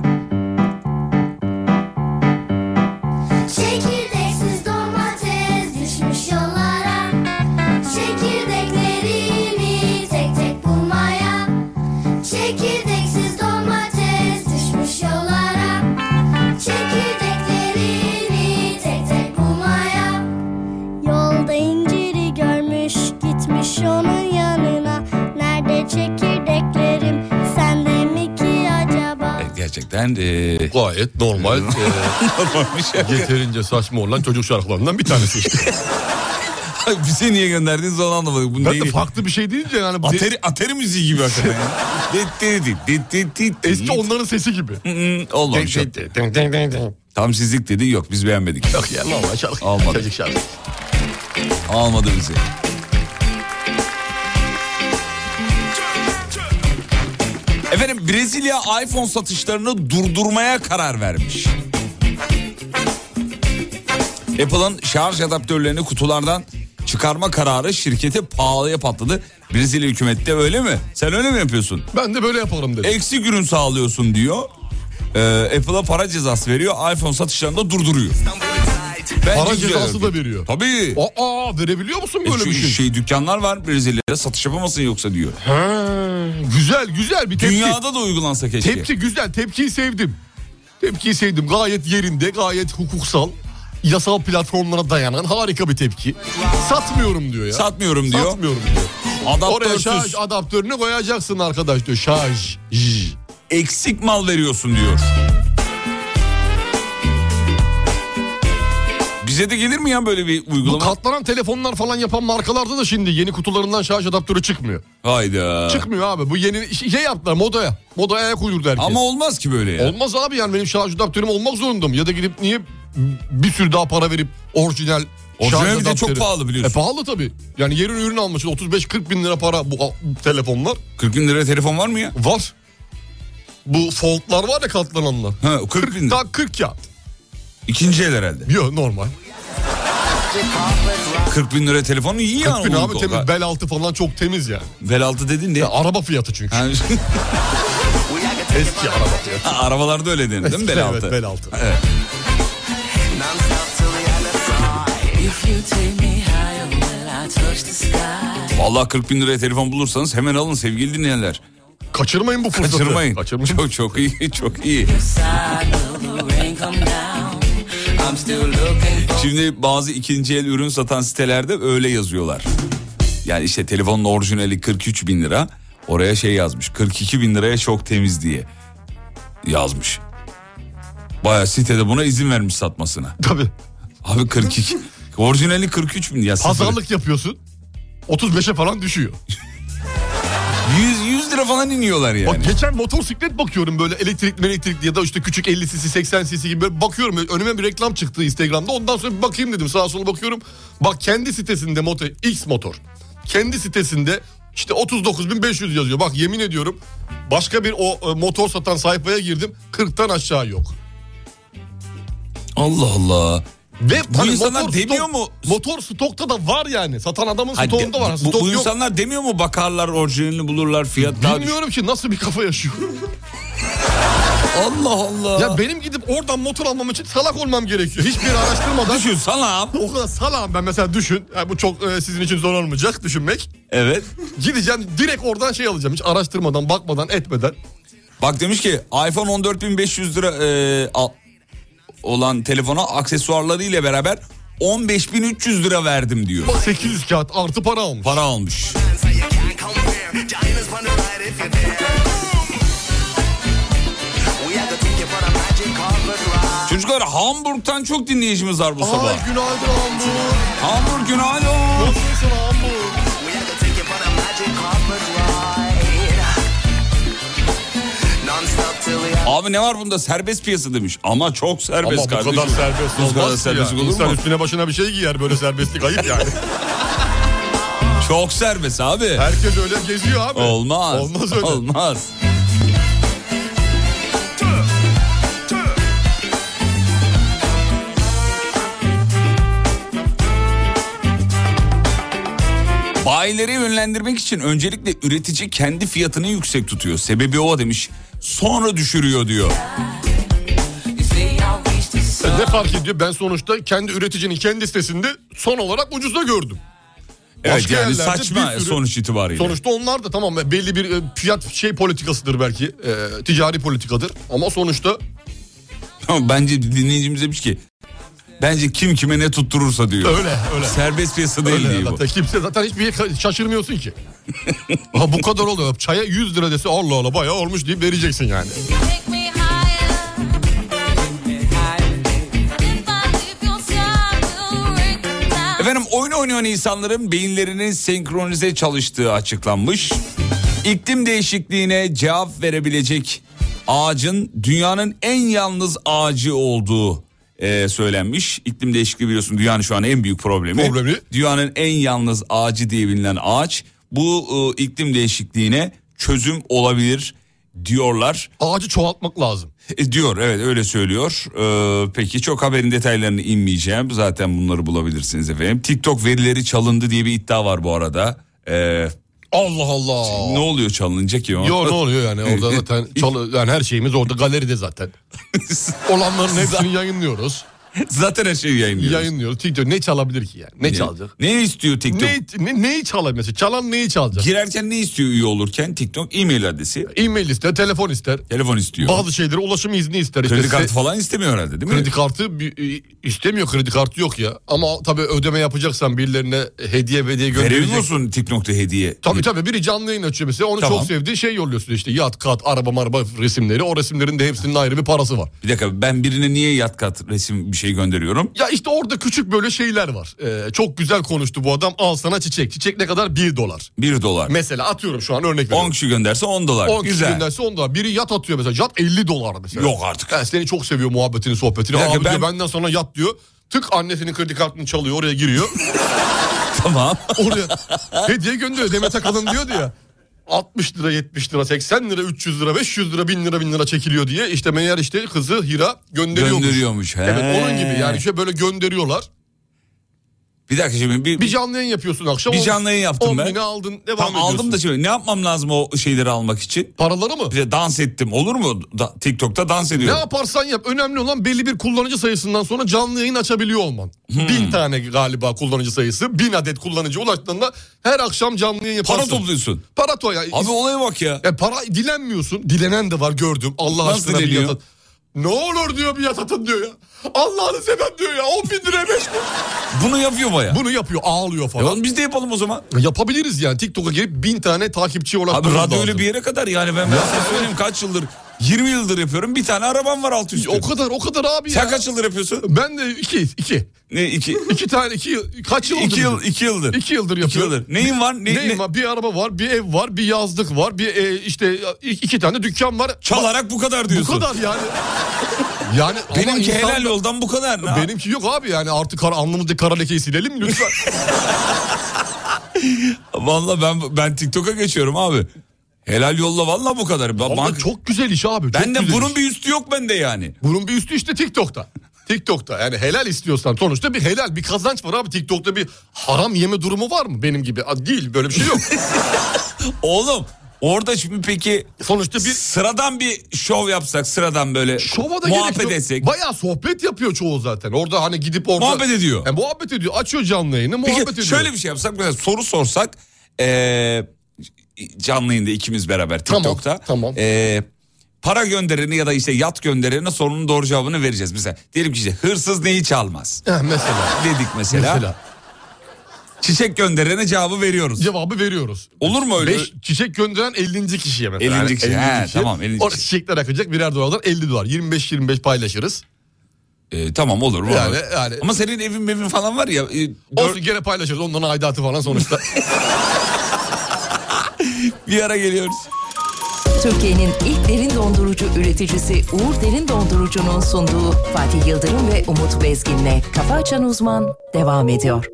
S1: Çekirdeksiz domates düşmüş yollara Çekirdeklerini tek tek bulmaya Çekirdeksiz domates düşmüş yollara Çekirdeklerini tek tek bulmaya Yolda inciri görmüş gitmiş onun yanına Nerede çekirdeklerim sende mi ki acaba
S3: Evet, Gerçekten ee,
S4: Gayet normal. e,
S3: normal bir şarkı.
S4: yeterince saçma olan çocuk şarkılarından bir tanesi işte.
S3: Bize niye gönderdiniz onu anlamadık. Bu
S4: Ben de
S3: değil.
S4: farklı bir şey deyince yani.
S3: Ateri, ateri müziği gibi hakikaten. ya. Dit dit dit dit dit dit.
S4: Eski onların sesi gibi.
S3: Hı, Olmamış. o. Tam sizlik dedi yok biz beğenmedik.
S4: Yok ya normal şarkı.
S3: Almadı.
S4: Çocuk şarkı.
S3: Almadı bizi. Efendim Brezilya iPhone satışlarını durdurmaya karar vermiş. Apple'ın şarj adaptörlerini kutulardan çıkarma kararı şirkete pahalıya patladı. Brezilya hükümette öyle mi? Sen öyle mi yapıyorsun?
S4: Ben de böyle yaparım dedim.
S3: Eksi ürün sağlıyorsun diyor. Ee, Apple'a para cezası veriyor. iPhone satışlarını da durduruyor. Bence
S4: Para
S3: güzel
S4: cezası da
S3: hareket.
S4: veriyor.
S3: Tabii.
S4: Aa verebiliyor musun
S3: E
S4: böyle bir
S3: çünkü
S4: şey?
S3: şey dükkanlar var Brezilya'da satış yapamasın yoksa diyor.
S4: Güzel güzel bir tepki.
S3: Dünyada da uygulansa keşke.
S4: Tepki güzel tepkiyi sevdim. Tepkiyi sevdim gayet yerinde gayet hukuksal. Yasal platformlara dayanan harika bir tepki. Satmıyorum diyor ya.
S3: Satmıyorum diyor.
S4: Satmıyorum diyor. Oraya şarj
S3: Adaptörsüz
S4: adaptörünü koyacaksın arkadaş diyor. Şarj. J.
S3: eksik mal veriyorsun diyor. Bize Bize de gelir mi ya böyle bir uygulama?
S4: Bu katlanan telefonlar falan yapan markalarda da şimdi yeni kutularından şarj adaptörü çıkmıyor.
S3: Hayda.
S4: Çıkmıyor abi. Bu yeni şey yaptılar modaya. Modaya ayak uydurdu herkes.
S3: Ama olmaz ki böyle ya.
S4: Olmaz abi yani benim şarj adaptörüm olmak zorundum. Ya da gidip niye bir sürü daha para verip orijinal
S3: Orijinal
S4: şarj
S3: bir de çok
S4: adaptörü-
S3: pahalı biliyorsun.
S4: E pahalı tabii. Yani yerin ürünü almışsın 35-40 bin lira para bu bu telefonlar.
S3: 40 bin lira telefon var mı ya?
S4: Var. Bu foldlar var ya katlananlar.
S3: Ha, 40 bin lira.
S4: Daha 40 ya.
S3: İkinci el herhalde.
S4: Yok normal.
S3: 40 bin lira telefonu iyi yani.
S4: 40 bin
S3: Umut
S4: abi
S3: o.
S4: temiz. Bel altı falan çok temiz yani.
S3: Bel altı dedin
S4: Ya
S3: diye.
S4: araba fiyatı çünkü.
S3: Ha,
S4: Eski araba fiyatı.
S3: Ha, arabalarda öyle denir değil mi bel altı?
S4: Evet bel altı.
S3: Vallahi 40 bin liraya telefon bulursanız hemen alın sevgili dinleyenler.
S4: Kaçırmayın bu fırsatı.
S3: Kaçırmayın.
S4: Kaçırmayın.
S3: Çok çok iyi çok iyi. Şimdi bazı ikinci el ürün satan sitelerde öyle yazıyorlar. Yani işte telefonun orijinali 43 bin lira. Oraya şey yazmış 42 bin liraya çok temiz diye yazmış. Baya sitede buna izin vermiş satmasına.
S4: Tabii.
S3: Abi 42. orijinali 43 bin ya. sitede.
S4: Pazarlık yapıyorsun. 35'e falan düşüyor.
S3: 100, 100 lira falan iniyorlar yani.
S4: Bak geçen motosiklet bakıyorum böyle elektrikli elektrikli ya da işte küçük 50 cc 80 cc gibi böyle bakıyorum. Böyle Önüme bir reklam çıktı Instagram'da ondan sonra bir bakayım dedim sağa sola bakıyorum. Bak kendi sitesinde motor X motor kendi sitesinde işte 39.500 yazıyor. Bak yemin ediyorum başka bir o e, motor satan sayfaya girdim 40'tan aşağı yok.
S3: Allah Allah.
S4: Ve
S3: Bu
S4: hani
S3: insanlar demiyor
S4: stok-
S3: mu?
S4: Motor stokta da var yani. Satan adamın
S3: Hayır,
S4: stokunda var.
S3: bu-
S4: Stok
S3: bu,
S4: yok.
S3: insanlar demiyor mu bakarlar orijinalini bulurlar fiyat daha düşük.
S4: Bilmiyorum ki nasıl bir kafa yaşıyor.
S3: Allah Allah.
S4: ya benim gidip oradan motor almam için salak olmam gerekiyor. Hiçbir yere araştırmadan.
S3: Düşün salam.
S4: O kadar salam ben mesela düşün. Yani bu çok e, sizin için zor olmayacak düşünmek.
S3: Evet.
S4: Gideceğim direkt oradan şey alacağım. Hiç araştırmadan, bakmadan, etmeden.
S3: Bak demiş ki iPhone 14500 lira e, al- olan telefona aksesuarları ile beraber 15300 lira verdim diyor.
S4: Bak 800 kağıt artı para almış.
S3: Para almış. Çocuklar Hamburg'tan çok dinleyicimiz var bu sabah.
S4: Ay günaydın Hamburg.
S3: Hamburg günaydın.
S4: Nasılsın Hamburg?
S3: Abi ne var bunda serbest piyasa demiş. Ama çok
S4: Ama
S3: serbest
S4: bu
S3: kardeşim.
S4: kadar serbest
S3: Bu kadar
S4: olmaz ki
S3: serbest
S4: ya.
S3: olur mu?
S4: İnsan üstüne başına bir şey giyer böyle serbestlik ayıp yani.
S3: Çok serbest abi.
S4: Herkes öyle geziyor abi.
S3: Olmaz.
S4: Olmaz öyle.
S3: Olmaz. Bayileri yönlendirmek için öncelikle üretici kendi fiyatını yüksek tutuyor. Sebebi o demiş. Sonra düşürüyor diyor.
S4: E Ne fark ediyor? Ben sonuçta kendi üreticinin kendi sitesinde son olarak ucuza gördüm.
S3: Evet
S4: Başka
S3: yani
S4: yerlerde
S3: saçma
S4: bir sürü-
S3: sonuç itibariyle.
S4: Sonuçta onlar da tamam belli bir e, fiyat şey politikasıdır belki. e, ticari politikadır. Ama sonuçta
S3: Ama bence dinleyicimiz demiş ki bence kim kime ne tutturursa diyor.
S4: öyle öyle.
S3: Serbest piyasa değil
S4: Öyle
S3: diyor bu.
S4: zaten. Kimse zaten hiçbir şey şaşırmıyorsun ki. ha, bu kadar oluyor. Çaya 100 lira dese Allah Allah bayağı olmuş deyip vereceksin yani.
S3: Efendim oyun oynayan insanların beyinlerinin senkronize çalıştığı açıklanmış. İklim değişikliğine cevap verebilecek ağacın dünyanın en yalnız ağacı olduğu e, söylenmiş. İklim değişikliği biliyorsun dünyanın şu an en büyük problemi.
S4: Problemi.
S3: Dünyanın en yalnız ağacı diye bilinen ağaç bu e, iklim değişikliğine çözüm olabilir diyorlar.
S4: Ağacı çoğaltmak lazım.
S3: E, diyor evet öyle söylüyor. Ee, peki çok haberin detaylarını inmeyeceğim. Zaten bunları bulabilirsiniz efendim. TikTok verileri çalındı diye bir iddia var bu arada. Ee,
S4: Allah Allah.
S3: ne oluyor çalınınca ki? o?
S4: Yo ne oluyor yani orada zaten çalı- yani her şeyimiz orada galeride zaten. Olanların hepsini yayınlıyoruz.
S3: Zaten her şeyi yayınlıyoruz.
S4: Yayınlıyoruz. TikTok ne çalabilir ki yani? Ne
S3: Ne-
S4: çalacak?
S3: Ne istiyor TikTok?
S4: Ne, ne, neyi çalabilir? mesela? Çalan neyi çalacak?
S3: Girerken ne istiyor üye olurken TikTok? E-mail adresi,
S4: E-mail ister, telefon ister.
S3: telefon istiyor.
S4: Bazı şeylere ulaşım izni ister. İşte
S3: Kredi kartı
S4: se-
S3: falan istemiyor herhalde değil mi?
S4: Kredi kartı bir- istemiyor kredi kartı yok ya. Ama tabii ödeme yapacaksan birilerine hediye hediye
S3: Verebiliyor
S4: göndereceksin.
S3: musun TikTok'ta hediye?
S4: Tabii tabii biri canlı yayın açıyor mesela onu
S3: Tamam.
S4: çok sevdiği şey yolluyorsun işte yat, kat, araba, maraba resimleri. O resimlerin de hepsinin ayrı bir parası var.
S3: Bir dakika ben birine niye yat kat resim bir şey gönderiyorum.
S4: Ya işte orada küçük böyle şeyler var. Ee, çok güzel konuştu bu adam. Al sana çiçek. Çiçek ne kadar? 1 dolar.
S3: 1 dolar.
S4: Mesela atıyorum şu an örnek veriyorum.
S3: 10 kişi gönderse 10 dolar.
S4: 10 kişi
S3: Güzel.
S4: gönderse 10 dolar. Biri yat atıyor mesela. Yat 50 dolar mesela.
S3: Yok artık.
S4: Ha, seni çok seviyor muhabbetini sohbetini.
S3: Bir dakika,
S4: Abi diyor
S3: ben-
S4: benden sonra yat diyor. Tık annesinin kredi kartını çalıyor oraya giriyor.
S3: Tamam.
S4: Oraya hediye gönderiyor Demet Akalın diyordu ya. 60 lira 70 lira 80 lira 300 lira 500 lira 1000 lira 1000 lira çekiliyor diye işte meğer işte kızı Hira gönderiyormuş.
S3: Gönderiyormuş. He.
S4: Evet onun gibi yani işte böyle gönderiyorlar.
S3: Bir dakika şimdi bir,
S4: Bir canlı yayın yapıyorsun akşam.
S3: Bir
S4: on-
S3: canlı yayın yaptım
S4: on
S3: ben.
S4: bini aldın devam
S3: Tam
S4: ediyorsun.
S3: aldım da şimdi ne yapmam lazım o şeyleri almak için?
S4: Paraları mı?
S3: Bir de dans ettim olur mu? Da- TikTok'ta dans
S4: Ne
S3: ediyorum.
S4: yaparsan yap. Önemli olan belli bir kullanıcı sayısından sonra canlı yayın açabiliyor olman.
S3: Hmm.
S4: Bin tane galiba kullanıcı sayısı. Bin adet kullanıcı ulaştığında her akşam canlı yayın
S3: Para
S4: yaparsın.
S3: topluyorsun.
S4: Para to ya.
S3: Abi olaya bak ya.
S4: Ya para dilenmiyorsun. Dilenen de var gördüm. Allah
S3: Nasıl
S4: aşkına bir
S3: dileniyor?
S4: yat at. Ne olur diyor bir yat atın diyor ya. Allah'ını seven diyor ya. 10 bin liraya 5
S3: Bunu yapıyor baya.
S4: Bunu yapıyor ağlıyor
S3: E
S4: falan.
S3: oğlum biz de yapalım o zaman.
S4: Yapabiliriz yani. TikTok'a girip bin tane takipçiye
S3: Abi
S4: ulaştırmamız
S3: radyo
S4: lazım.
S3: öyle bir yere kadar yani ben, ben size söyleyeyim kaç yıldır 20 yıldır yapıyorum bir tane arabam var altı üstü.
S4: O kadar o kadar abi ya.
S3: Sen kaç yıldır yapıyorsun?
S4: Ben de iki, iki.
S3: Ne iki?
S4: İki tane, iki yıl, kaç yıl oldu
S3: iki
S4: bizim?
S3: yıl iki yıldır.
S4: İki yıldır
S3: İki
S4: yapıyorum.
S3: yıldır. Neyin var? Ne,
S4: Neyim
S3: ne-
S4: var? Bir araba var, bir ev var, bir yazlık var, bir e, işte iki iki tane dükkan var.
S3: Çalarak bu kadar
S4: Bu
S3: diyorsun.
S4: kadar yani. yani ama
S3: Benimki
S4: insan-
S3: helal yoldan bu kadar. Ne?
S4: Benimki yok abi yani artık kara, alnımızdaki kara lekeyi silelim lütfen.
S3: Valla ben ben TikTok'a geçiyorum abi. Helal yolla valla bu kadar. Ben,
S4: Ama
S3: ben-
S4: çok güzel iş abi. çok
S3: ben de
S4: güzel
S3: bunun
S4: iş.
S3: bir üstü yok bende yani.
S4: bunun bir üstü işte TikTok'ta. TikTok'ta yani helal istiyorsan sonuçta bir helal bir kazanç var abi TikTok'ta bir haram yeme durumu var mı benim gibi? Aa, Değil böyle bir şey yok.
S3: Oğlum orada şimdi peki
S4: sonuçta bir
S3: sıradan bir şov yapsak sıradan böyle
S4: Şova da gerek
S3: muhabbet
S4: yok.
S3: etsek.
S4: Bayağı sohbet yapıyor çoğu zaten. Orada hani gidip orada...
S3: Muhabbet ediyor.
S4: E, muhabbet ediyor. Açıyor canlı yayını
S3: Peki
S4: muhabbet ediyor.
S3: şöyle bir şey yapsak mesela soru sorsak eee canlı yayında ikimiz beraber
S4: Tamam,
S3: TikTok'ta.
S4: tamam.
S3: Eee, para göndereni ya da işte yat göndereni sorunun doğru cevabını vereceğiz. Mesela diyelim ki işte hırsız neyi çalmaz
S4: Heh, Eh, mesela.
S3: dedik mesela.
S4: Mesela.
S3: Çiçek gönderene cevabı veriyoruz.
S4: Cevabı veriyoruz.
S3: Olur mu öyle?
S4: Beş çiçek gönderen 50. kişiye mesela.
S3: 50. kişi, he, tamam, 50.
S4: Orada çiçekler akacak birer dolardan 50 dolar. 25-25 paylaşırız.
S3: Ee, tamam olur. olur.
S4: Yani- yani-
S3: Ama senin evin evin falan var ya. e, dört-
S4: Olsun gene paylaşırız. Onların aidatı falan sonuçta.
S3: bir ara geliyoruz.
S6: Türkiye'nin ilk derin dondurucu üreticisi Uğur Derin Dondurucu'nun sunduğu Fatih Yıldırım ve Umut Bezgin'le Kafa Açan Uzman devam ediyor.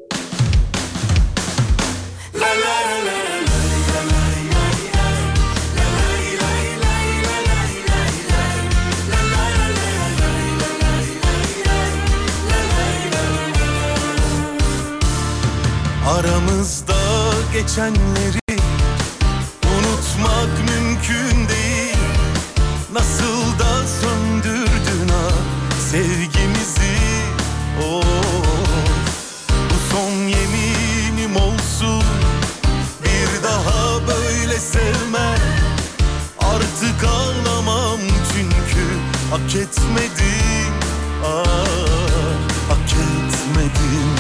S2: Aramızda geçenleri unutmak mümkün değil Nasıl da söndürdün ha sevgimizi oh. Bu son yeminim olsun bir daha böyle sevme Artık ağlamam çünkü hak etmedim ah, Hak etmedim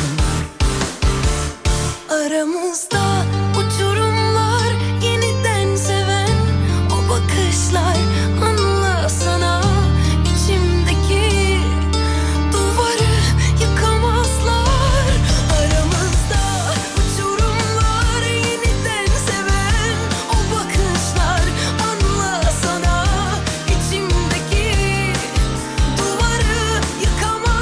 S1: Aramızda uçurumlar yeniden seven o bakışlar anla sana içimdeki duvarı yıkamazlar. Aramızda uçurumlar yeniden seven o bakışlar anla sana içimdeki duvarı yıkamazlar.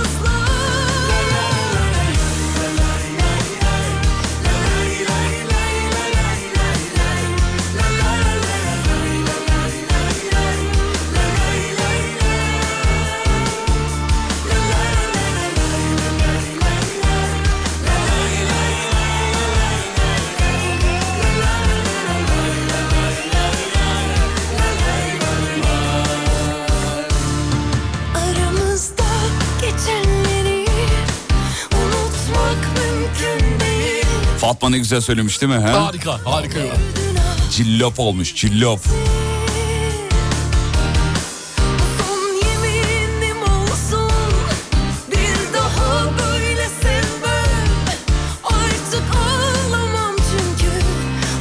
S1: Aramızda geçenleri unutmak mümkün değil.
S3: Fatma ne güzel söylemiş değil mi? He?
S4: harika, harika. yorum.
S1: Dün ah
S3: Cillop olmuş cillop.
S1: Son yeminim olsun bir daha böyle sevmem artık ağlamam çünkü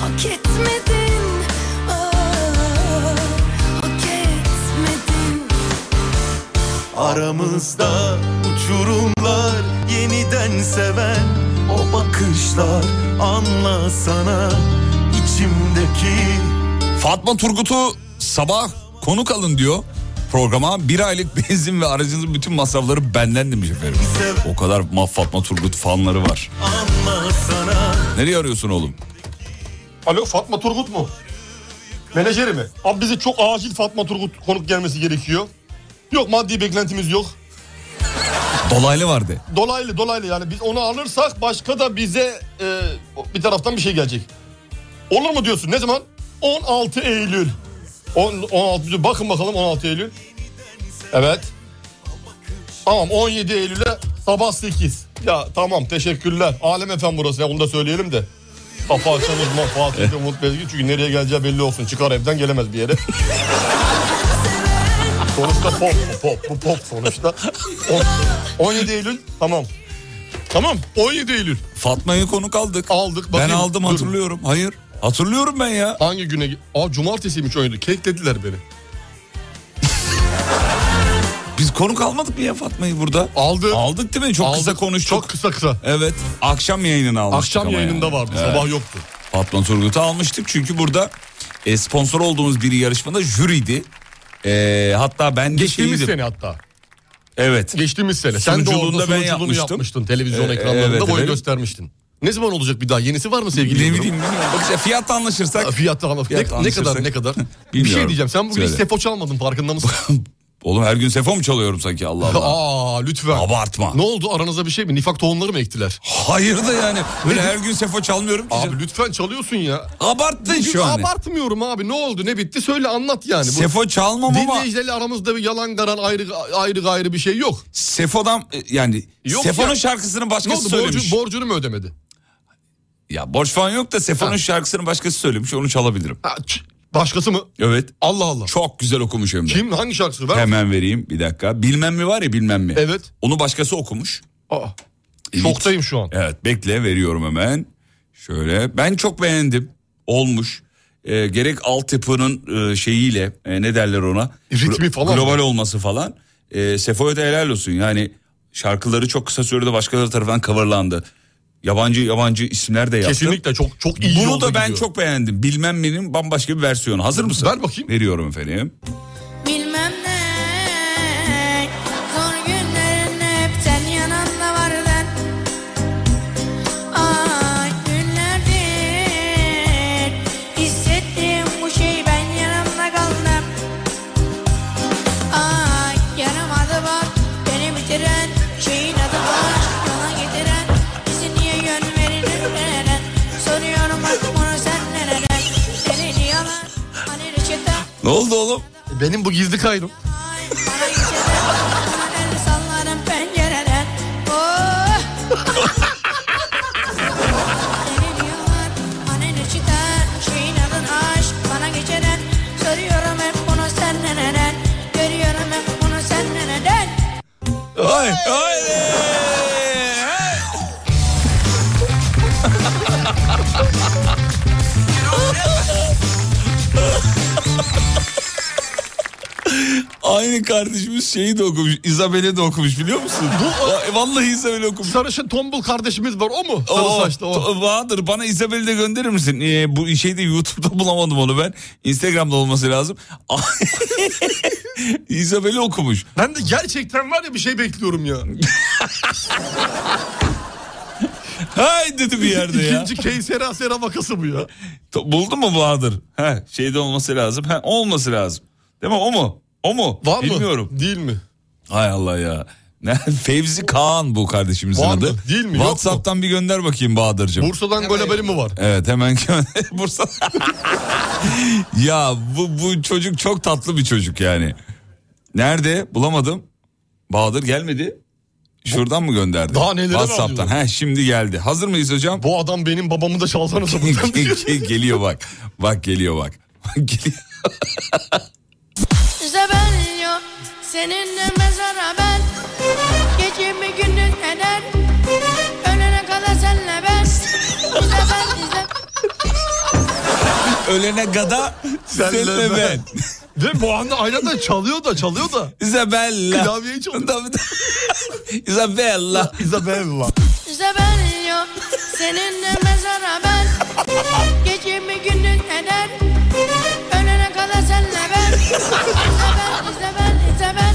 S1: hak etmedin ah hak etmedin
S2: Aramızda uçurum yorumlar yeniden seven o bakışlar anla sana içimdeki
S3: Fatma Turgut'u sabah konuk alın diyor programa. Bir aylık benzin ve aracınızın bütün masrafları benden demiş efendim. O kadar ma Fatma Turgut fanları var.
S2: anla sana
S3: Nereye arıyorsun oğlum?
S4: Alo Fatma Turgut mu? Menajeri mi? Abi bize çok acil Fatma Turgut konuk gelmesi gerekiyor. Yok maddi beklentimiz yok.
S3: Dolaylı vardı.
S4: Dolaylı dolaylı yani biz onu alırsak başka da bize e, bir taraftan bir şey gelecek. Olur mu diyorsun ne zaman? 16 Eylül. On- 16 Eylül. bakın bakalım 16 Eylül. Evet. Tamam 17 Eylül'e sabah 8. Ya tamam teşekkürler. Alem efendim burası ya onu da söyleyelim de. Kafa açan uzman Fatih ve Umut Bezgi çünkü nereye geleceği belli olsun. Çıkar evden gelemez bir yere. sonuçta pop bu pop bu pop sonuçta. On- 17 Eylül tamam. Tamam 17 Eylül
S3: Fatma'yı konuk aldık.
S4: aldık.
S3: ben
S4: Bakayım,
S3: aldım
S4: dur.
S3: hatırlıyorum. Hayır. Hatırlıyorum ben ya.
S4: Hangi güne? Aa cumartesiymiş 17. Keklediler beni.
S3: Biz konuk almadık mı ya Fatma'yı burada?
S4: Aldı.
S3: Aldık değil mi? Çok
S4: Aldı.
S3: kısa konuştuk.
S4: Çok kısa kısa.
S3: Evet. Akşam yayınını almıştık
S4: Akşam
S3: ama
S4: yayınında
S3: yani.
S4: vardı.
S3: Evet.
S4: Sabah yoktu.
S3: Fatma Turgut'u almıştık çünkü burada e, sponsor olduğumuz bir yarışmada jüriydi. E, hatta ben de
S4: Geçtiğimiz
S3: şeydim.
S4: sene hatta.
S3: Evet.
S4: Geçtiğimiz sene. Sen de
S3: Sunuculuğunu
S4: orada
S3: da ben
S4: sunuculuğunu
S3: yapmıştım.
S4: yapmıştın. Televizyon
S3: Ee,
S4: ekranlarında
S3: evet,
S4: boy
S3: evet.
S4: göstermiştin. Ne zaman olacak bir daha? Yenisi var mı sevgili?
S3: Ne
S4: Yıldırım?
S3: bileyim bilmiyorum. Bak işte fiyat anlaşırsak.
S4: Aa, Fiyatla anla-
S3: Fiyat
S4: ne, ne
S3: anlaşırsak-
S4: kadar ne kadar? bir şey
S3: Bilmiyorum.
S4: diyeceğim. Sen bugün hiç
S3: Söyle.
S4: sefo çalmadın farkında mısın?
S3: Oğlum her gün sefo mu çalıyorum sanki Allah Allah.
S4: Aa lütfen.
S3: Abartma.
S4: Ne oldu aranızda bir şey mi? Nifak tohumları mı ektiler?
S3: Hayır da yani. Böyle her gün sefo çalmıyorum ki.
S4: Abi lütfen çalıyorsun ya.
S3: Abarttın şu an.
S4: Abartmıyorum abi. Ne oldu ne bitti söyle anlat yani. Bu-
S3: Sefo çalmam ama
S4: Dinleyicilerle aramızda bir yalan garan ayrı ayrı gayrı bir şey yok.
S3: Sefo'dan e, yani
S4: Yok
S3: Sefo'nun
S4: ya.
S3: şarkısını
S4: Ne
S3: başkası
S4: oldu
S3: söylemiş.
S4: borcu, borcunu mu ödemedi?
S3: Ya borç falan yok da Sefo'nun
S4: Ha.
S3: şarkısını başkası söylemiş onu çalabilirim.
S4: Ha, ç- başkası mı?
S3: Evet.
S4: Allah Allah.
S3: Çok güzel okumuş hem de.
S4: Kim hangi şarkısı? Ben...
S3: Hemen vereyim bir dakika. Bilmem mi var ya bilmem mi.
S4: Evet.
S3: Onu başkası okumuş.
S4: Aa,
S3: Evet.
S4: şoktayım şu an.
S3: Evet bekle veriyorum hemen. Şöyle ben çok beğendim. Olmuş. Ee, gerek altyapının e, şeyiyle e, ne derler ona.
S4: Ritmi
S3: Glo-
S4: falan
S3: Global
S4: mı?
S3: olması falan. Ee, Sefo'ya da helal olsun. Yani şarkıları çok kısa sürede başkaları tarafından coverlandı. Yabancı yabancı isimler de yaptı.
S4: Kesinlikle çok çok iyi
S3: Bunu
S4: yolda
S3: da ben
S4: gidiyor.
S3: çok beğendim. Bilmem benim bambaşka bir versiyonu. Hazır mısın?
S4: Ver bakayım.
S3: Veriyorum efendim.
S8: Bilmem ne Zor günlerinde hep sen yanımda vardın Ay günlerdir Hissettiğim bu şey ben yanımda kaldım Ay yaramadı bak Beni bitiren şeyin adı var Yola getiren bizi niye yön verilip nereden Soruyorum artık bunu sen nereden Beni niye alan hani reçete
S3: Ne oldu oğlum?
S4: E, Benim bu gizli kaydım.
S8: Soruyorum hep bunu sen neden Görüyorum hep bunu sen neden
S3: Ay, ay. Aynı kardeşimiz şeyi de okumuş. İzabel'i de okumuş biliyor musun? Va- Vallahi İzabel'i okumuş.
S4: Sarışın tombul kardeşimiz var o mu? Sarı
S3: O,
S4: saçlı o.
S3: t- Bahadır bana Isabel'i de gönderir misin? Ee, bu şeyde YouTube'da bulamadım onu ben. Instagram'da olması lazım. Isabel'i okumuş.
S4: Ben de gerçekten var ya bir şey bekliyorum ya.
S3: Hay dedi bir yerde ya.
S4: İkinci Keysera Sera vakası bu ya.
S3: To- Buldun mu Bahadır? He, şeyde olması lazım. He, olması lazım. Değil mi? O mu? O mu?
S4: Var mı?
S3: Bilmiyorum.
S4: Değil mi?
S3: Hay Allah ya. Ne? Fevzi Kaan bu kardeşimizin
S4: Var mı?
S3: adı.
S4: Değil mi? Yok mu?
S3: WhatsApp'tan bir gönder bakayım Bahadır'cığım.
S4: Bursa'dan gol haberi mi var?
S3: Evet hemen Bursa. ya bu bu çocuk çok tatlı bir çocuk yani. Nerede? Bulamadım. Bahadır gelmedi. Şuradan mı gönderdi?
S4: Daha nelere
S3: WhatsApp'tan.
S4: rağmen
S3: He şimdi geldi. Hazır mıyız hocam?
S4: Bu adam benim babamı da çalsana sapından diyor.
S3: geliyor bak. Bak geliyor bak. Geliyor.
S8: Isabel yok Seninle mezara ben Gecemi gündüz eder Ölene kadar senle ben Isabel, Isabel
S3: Ölene gada
S4: Senle
S3: senle ben.
S4: Ve bu anda aynen de çalıyor da çalıyor da.
S3: Isabella.
S4: Klavyeyi çalıyor.
S3: Isabella.
S4: Isabella.
S9: İşte ben yok Seninle mezara ben Geçimi günün eder Ölene kadar senle ben İşte ben, işte ben, işte ben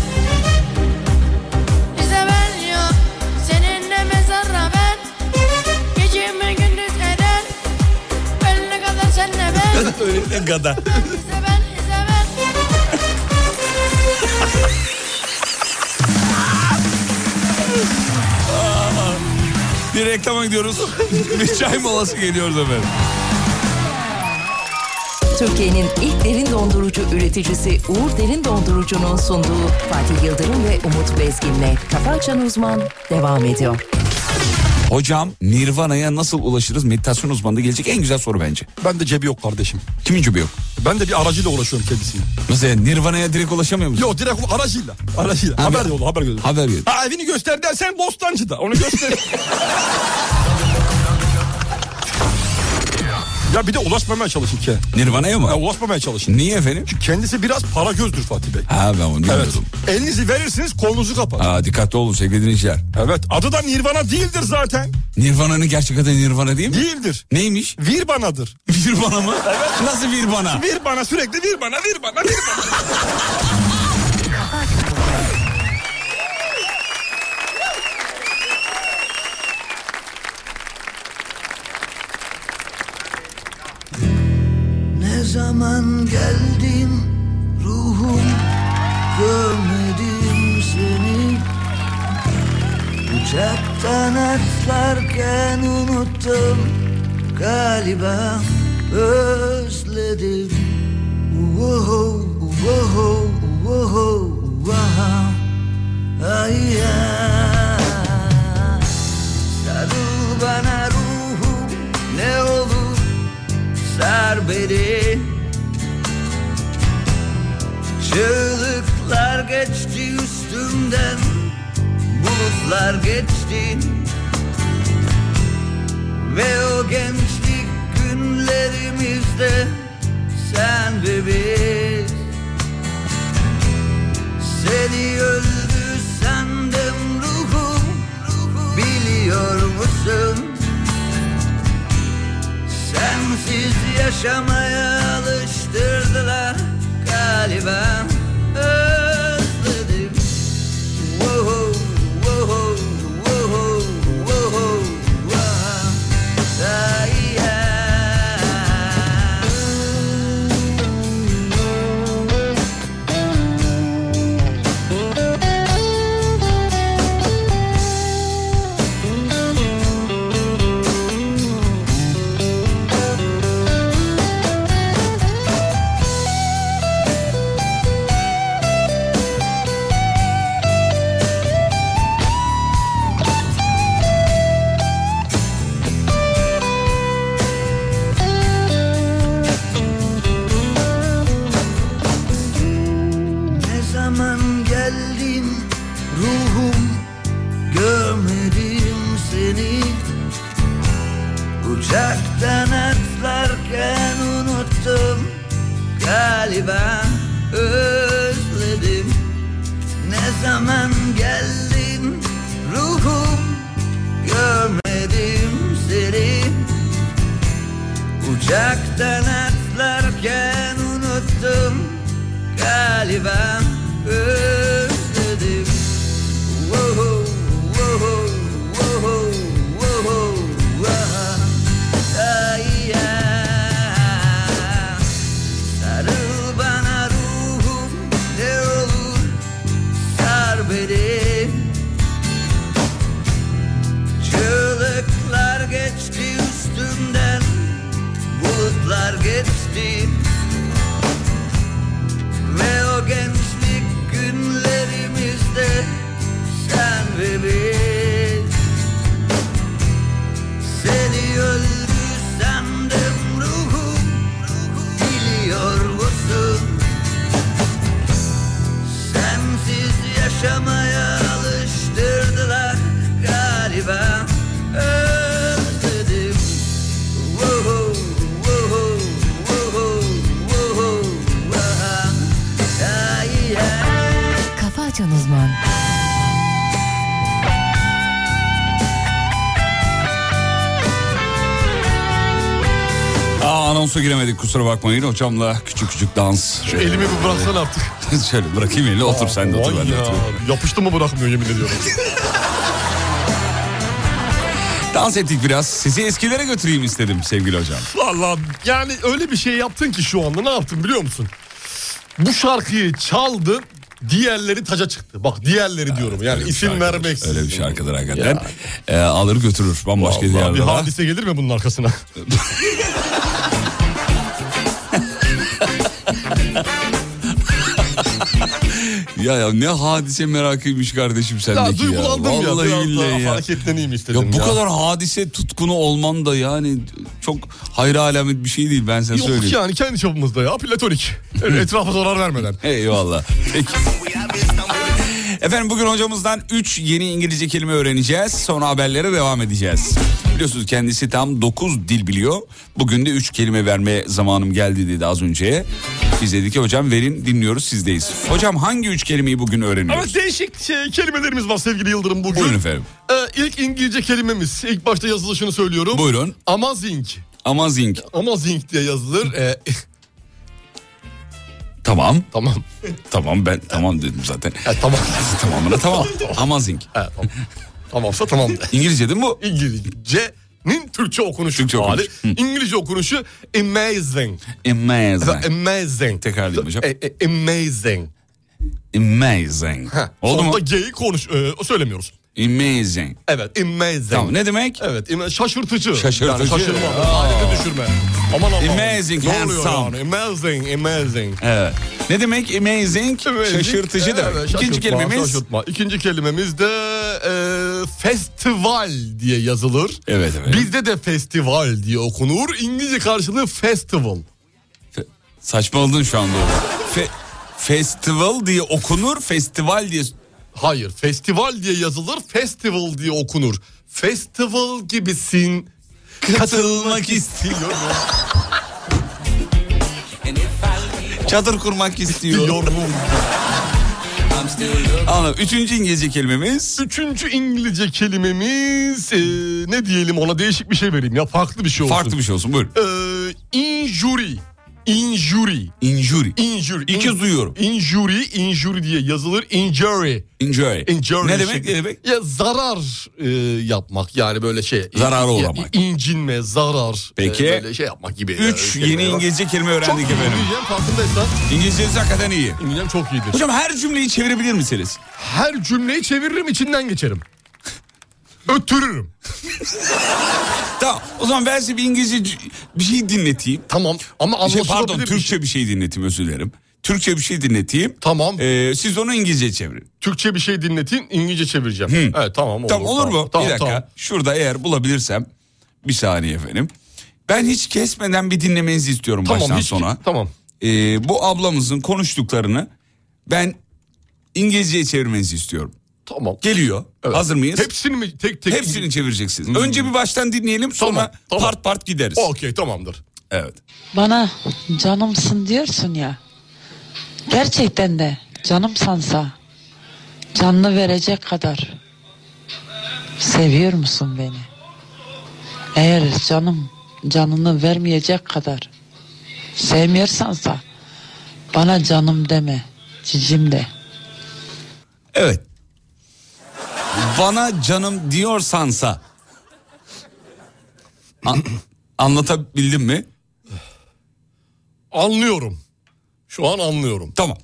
S9: İşte ben yok Seninle mezara ben Geçimi gündüz eder Ölene kadar senle ben
S3: Öyle gada.
S9: İşte ben, işte ben
S3: Bir reklama gidiyoruz. Bir çay molası geliyoruz efendim.
S6: Türkiye'nin ilk derin dondurucu üreticisi Uğur Derin Dondurucu'nun sunduğu Fatih Yıldırım ve Umut Bezgin'le Kafa Açan Uzman devam ediyor.
S3: Hocam Nirvana'ya nasıl ulaşırız? Meditasyon uzmanında gelecek en güzel soru bence.
S4: Ben de cebi yok kardeşim.
S3: Kimin cebi yok?
S4: Ben de bir aracıyla uğraşıyorum kendisiyle.
S3: Mesela Nirvana'ya direkt ulaşamıyor musun?
S4: Yok direkt bu aracıyla. Aracıyla. haber yolu haber yolu.
S3: Haber verin.
S4: Ha evini göster dersen Bostancı'da. Onu göster. ya bir de ulaşmamaya çalışın ki.
S3: Nirvana'ya
S4: Ya
S3: mı?
S4: ulaşmamaya çalışın.
S3: Niye efendim?
S4: Kendisi biraz para gözdür Fatih Bey.
S3: Ha ben onu
S4: Evet.
S3: bilmiyordum.
S4: Elinizi verirsiniz kolunuzu kapar.
S3: Aa, dikkatli olun sevgili dinleyiciler.
S4: Evet. Adı da Nirvana değildir zaten.
S3: Nirvana'nın gerçek adı Nirvana değil mi?
S4: Değildir.
S3: Neymiş?
S4: Virbana'dır.
S3: Virvana mı? Nasıl Virvana?
S4: Virbana sürekli Virbana Virbana Virbana.
S10: Ne zaman geldin ruhum görmedim seni Uçaktan atlarken unuttum galiba özledim Uvoho, uvoho, uvoho, uvaha Ay ay. Sarıl bana ruhum ne olur sar beni Çığlıklar geçti üstümden Bulutlar geçti Ve o gençlik günlerimizde Sen ve biz Seni öldü sandım ruhum Biliyor musun? Sensiz yaşamaya alıştırdılar galiba özledim Woho, woho, woho, woho, woho. Ay, ay. Ne zaman geldin ruhum görmedim seni Uçaktan atlarken unuttum galiba özledim Ne zaman geldin ruhum görmedim seni Uçaktan atlarken unuttum galiba özledim Woho, woho, woho, woho, woho. Ay, ay. Sarıl bana ruhum ne olur sar beni Çığlıklar geçti üstümden Bulutlar geçti Ve o gençlik günlerimizde Sen ve biz Seni öldü sandım ruhum Biliyor musun Sensiz yaşamaya alıştırdılar galiba Özledim Woho, woho, woho,
S3: anonsa giremedik kusura bakmayın. Hocamla küçük küçük dans.
S4: Şu elimi bir bıraksana artık.
S3: Şöyle bırakayım eli otur sen de otur
S4: Vay
S3: ben de
S4: ya.
S3: oturayım.
S4: Yapıştı mı bırakmıyor yemin ediyorum.
S3: Dans ettik biraz. Sizi eskilere götüreyim istedim sevgili hocam.
S4: Valla yani öyle bir şey yaptın ki şu anda ne yaptın biliyor musun? Bu şarkıyı çaldın diğerleri taca çıktı. Bak diğerleri diyorum yani isim vermek.
S3: Öyle bir şarkıdır hakikaten. Ee, alır götürür bambaşka
S4: Vallahi bir
S3: diyarlara.
S4: hadise gelir mi bunun arkasına?
S3: Ya ya ne hadise merakıymış kardeşim sendeki
S4: ya
S3: ya.
S4: duygulandım ya.
S3: Vallahi
S4: Biraz daha
S3: billahi ya.
S4: hareketleneyim istedim
S3: Ya bu
S4: ya.
S3: kadar hadise tutkunu olman da yani çok hayra alamet bir şey değil ben sana
S4: Yok
S3: söyleyeyim.
S4: yani kendi çapımızda ya platonik. Öyle Etrafa zarar vermeden.
S3: Eyvallah. Peki. Efendim bugün hocamızdan 3 yeni İngilizce kelime öğreneceğiz. Sonra haberlere devam edeceğiz. Biliyorsunuz kendisi tam 9 dil biliyor. Bugün de 3 kelime verme zamanım geldi dedi az önce. Biz dedik ki hocam verin dinliyoruz sizdeyiz. Hocam hangi 3 kelimeyi bugün öğreniyoruz?
S4: Evet değişik şey, kelimelerimiz var sevgili Yıldırım bugün. Ee,
S3: Buyurun efendim.
S4: ilk İngilizce kelimemiz. İlk başta yazılışını söylüyorum.
S3: Buyurun.
S4: Amazing.
S3: Amazing.
S4: Amazing diye yazılır. Ee,
S3: Tamam.
S4: tamam.
S3: Tamam ben tamam dedim zaten.
S4: Ha, tamam.
S3: Tamamına tamam. Amazing.
S4: Ha, tamam. Tamamsa tamam.
S3: İngilizce değil mi bu?
S4: İngilizce'nin Türkçe okunuşu
S3: Türkçe
S4: hali.
S3: okunuş.
S4: İngilizce okunuşu amazing.
S3: Amazing.
S4: Amazing.
S3: Tekrarlayayım hocam.
S4: E, e, amazing.
S3: Amazing. Oldu mu?
S4: Sonunda G'yi konuş, e, söylemiyoruz.
S3: Amazing.
S4: Evet, amazing.
S3: Tamam ne demek?
S4: Evet, ima- şaşırtıcı.
S3: Şaşırtıcı.
S4: Yani şaşırma, halini düşürme. Aman Allah'ım.
S3: Amazing,
S4: Ne oluyor
S3: handsome.
S4: yani? Amazing, amazing.
S3: Evet. Ne demek amazing?
S4: Amazing.
S3: Şaşırtıcı demek.
S4: Evet,
S3: İkinci
S4: şaşırtma,
S3: kelimemiz
S4: Şaşırtma. İkinci kelimemiz de e, festival diye yazılır.
S3: Evet, evet.
S4: Bizde de festival diye okunur. İngilizce karşılığı festival.
S3: Fe- saçmaladın şu anda. Fe- festival diye okunur, festival diye
S4: Hayır, festival diye yazılır, festival diye okunur. Festival gibisin.
S3: katılmak istiyor. Çadır kurmak istiyor.
S4: Diyorum.
S3: Anladım. Üçüncü İngilizce kelimemiz
S4: Üçüncü İngilizce kelimemiz e, ne diyelim ona değişik bir şey vereyim ya farklı bir şey olsun.
S3: farklı bir şey olsun. Buyur.
S4: E, injury. Injury.
S3: Injury.
S4: Injury.
S3: İlk kez duyuyorum.
S4: Injury, injury diye yazılır. Injury.
S3: Injury.
S4: Injury
S3: Ne demek?
S4: şekli.
S3: Ne demek?
S4: Ya zarar e, yapmak yani böyle şey.
S3: Zarara
S4: Ya,
S3: uğramak.
S4: incinme, zarar.
S3: Peki.
S4: e, böyle şey yapmak gibi.
S3: Üç
S4: e, kelimeler
S3: yeni
S4: var.
S3: İngilizce kelime
S4: Çok
S3: öğrendik
S4: iyi
S3: efendim.
S4: İngilizcem farkındaysan.
S3: İngilizceniz hakikaten iyi.
S4: İngilizcem çok iyidir.
S3: Hocam her cümleyi çevirebilir misiniz?
S4: Her cümleyi çeviririm içinden geçerim. Öttürürüm.
S3: Tamam. O zaman ben size bir İngilizce c- bir şey dinleteyim.
S4: Tamam ama
S3: Bir şey,
S4: anlaşılabilir
S3: pardon
S4: bir
S3: Türkçe
S4: şey.
S3: bir şey dinleteyim özür dilerim. Türkçe bir şey dinleteyim.
S4: Tamam.
S3: Ee, siz onu İngilizce çevirin.
S4: Türkçe bir şey dinleteyim İngilizce çevireceğim. Evet tamam olur.
S3: tamam olur mu?
S4: Tamam,
S3: bir dakika.
S4: tamam.
S3: Şurada eğer bulabilirsem. Bir saniye efendim. Ben hiç kesmeden bir dinlemenizi istiyorum
S4: Tamam,
S3: baştan
S4: hiç-
S3: sona.
S4: Tamam.
S3: Ee, bu ablamızın konuştuklarını ben İngilizceye çevirmenizi istiyorum.
S4: Tamam.
S3: Geliyor.
S4: Evet.
S3: Hazır mıyız?
S4: Hepsini mi tek tek?
S3: Hepsini çevireceksiniz. Önce bir baştan dinleyelim sonra
S4: Tamam, tamam.
S3: part part gideriz.
S4: Okey tamamdır.
S3: Evet.
S11: Bana canımsın diyorsun ya. Gerçekten de canım sansa canlı verecek kadar seviyor musun beni? Eğer canım canını vermeyecek kadar sevmiyorsansa bana canım deme, cicim de.
S3: Evet. Bana canım diyorsansa. An- anlatabildim mi?
S4: Anlıyorum. Şu an anlıyorum.
S3: Tamam.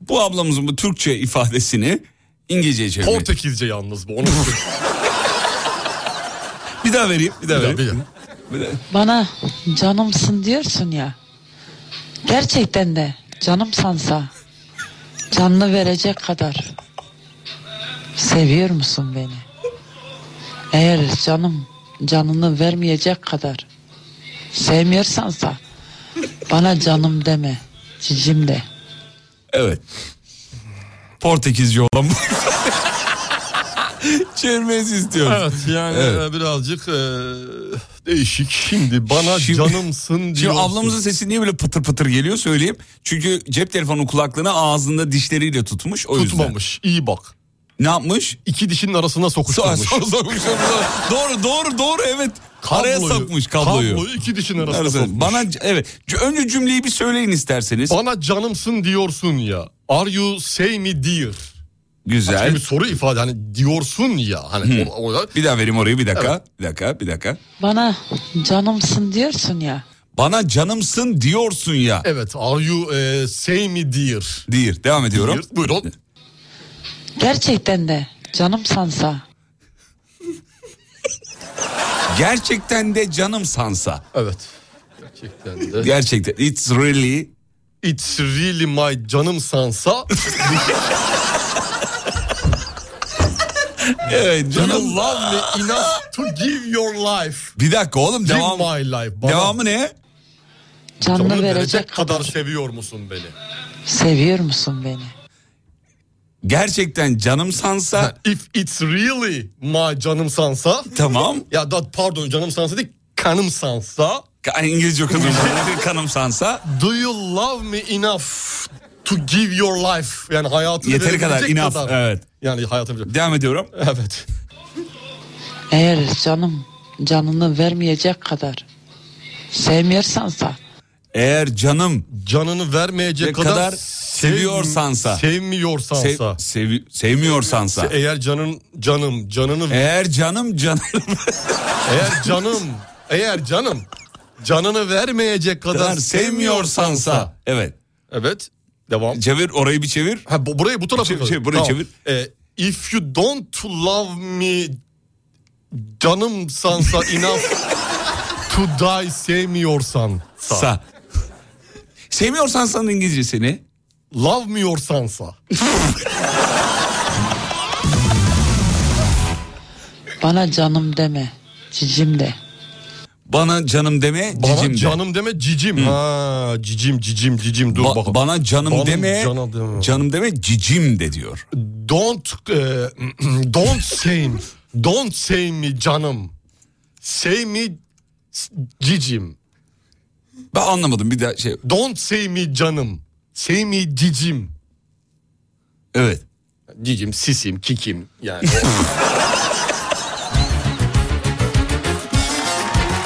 S3: Bu ablamızın bu Türkçe ifadesini İngilizceye çevirmek.
S4: Portekizce yalnız bu. Onu bir
S3: bir daha vereyim, bir daha
S4: daha,
S3: vereyim.
S4: bir daha.
S11: Bana canımsın diyorsun ya. Gerçekten de canım sansa canlı verecek kadar seviyor musun beni? Eğer canım canını vermeyecek kadar sevmiyorsansa bana canım deme, cicim de.
S3: Evet. Portekizce olan bu. Çevirmenizi istiyorum.
S4: Evet yani
S3: Evet.
S4: e, birazcık e, değişik. Şimdi bana
S3: Şimdi-
S4: canımsın
S3: Şimdi
S4: diyorsun.
S3: ablamızın sesi niye böyle pıtır pıtır geliyor söyleyeyim. Çünkü cep telefonu kulaklığını ağzında dişleriyle tutmuş o yüzden.
S4: tutmamış. İyi bak.
S3: Ne yapmış?
S4: İki dişinin arasına sokuşturmuş.
S3: Sonra sokuşturmuş. doğru doğru doğru evet. Araya
S4: Kabloyu,
S3: sokmuş kabloyu.
S4: kabloyu iki dişin arasına sokmuş.
S3: Bana c- evet C- önce cümleyi bir söyleyin isterseniz.
S4: Bana canımsın diyorsun ya. Are you say me dear?
S3: Güzel.
S4: Başka bir soru ifade hani diyorsun ya. Hani
S3: Hı.
S4: o, o-
S3: Bir daha vereyim orayı bir dakika. Bir dakika bir dakika.
S11: Bana canımsın diyorsun ya.
S3: Bana canımsın diyorsun ya.
S4: Evet are you e, say me dear?
S3: Dear. Devam ediyorum.
S4: Dear, buyurun.
S11: Gerçekten de canımsansa.
S3: Gerçekten de canım sansa.
S4: Evet. Gerçekten de.
S3: Gerçekten. It's really
S4: It's really my canım sansa.
S3: Evet
S4: Canım
S3: canım.
S4: love me enough to give your life.
S3: Bir dakika oğlum
S4: Give
S3: devam.
S4: my life. Bana
S3: Devamı ne?
S11: Canlı
S4: canını
S11: verecek
S4: verecek
S11: kadar.
S4: kadar seviyor musun beni?
S11: Seviyor musun beni?
S3: Gerçekten canım sansa.
S4: If it's really my canım sansa.
S3: tamam.
S4: Ya da pardon canım sansa değil kanım sansa.
S3: Ka- İngilizce okudum. Kanım sansa.
S4: Do you love me enough to give your life? Yani hayatını
S3: Yeteri kadar.
S4: verebilecek
S3: Enough. Evet.
S4: Yani hayatını verecek-
S3: Devam ediyorum.
S4: Evet.
S11: Eğer canım canını vermeyecek kadar sevmiyorsansa
S3: Eğer canım
S4: Canını vermeyecek
S3: Ne
S4: kadar,
S3: kadar
S4: sev-
S3: seviyorsansa. sev,
S4: Sevmiyorsansa.
S3: sevi- sevmiyorsansa.
S4: eğer canın canım canını
S3: Eğer canım canım
S4: eğer canım eğer canım canını vermeyecek kadar
S3: kadar
S4: sevmiyorsansa.
S3: sevmiyorsansa. Evet.
S4: Evet. Devam.
S3: Çevir orayı bir çevir.
S4: Ha, bu, burayı bu tarafa
S3: Çevir,
S4: koy.
S3: çevir, burayı çevir.
S4: Ee, if you don't love me canım sansa enough to die sevmiyorsan sa.
S3: Sa. Sevmiyorsansa İngilizcesini.
S4: Love miyorsansa.
S11: bana canım deme cicim de.
S3: Bana canım deme
S4: Bana
S3: cicim de.
S4: canım deme cicim. Ha cicim cicim cicim dur
S3: Ba-
S4: bakalım.
S3: bana canım
S4: Bana
S3: deme,
S4: cana deme.
S3: canım deme cicim de diyor.
S4: Don't e, don't say me. Don't say me canım. Say me s- cicim.
S3: Ben anlamadım bir daha şey.
S4: Don't say me canım. Say me cicim.
S3: Evet.
S4: Cicim, sisim, kikim yani.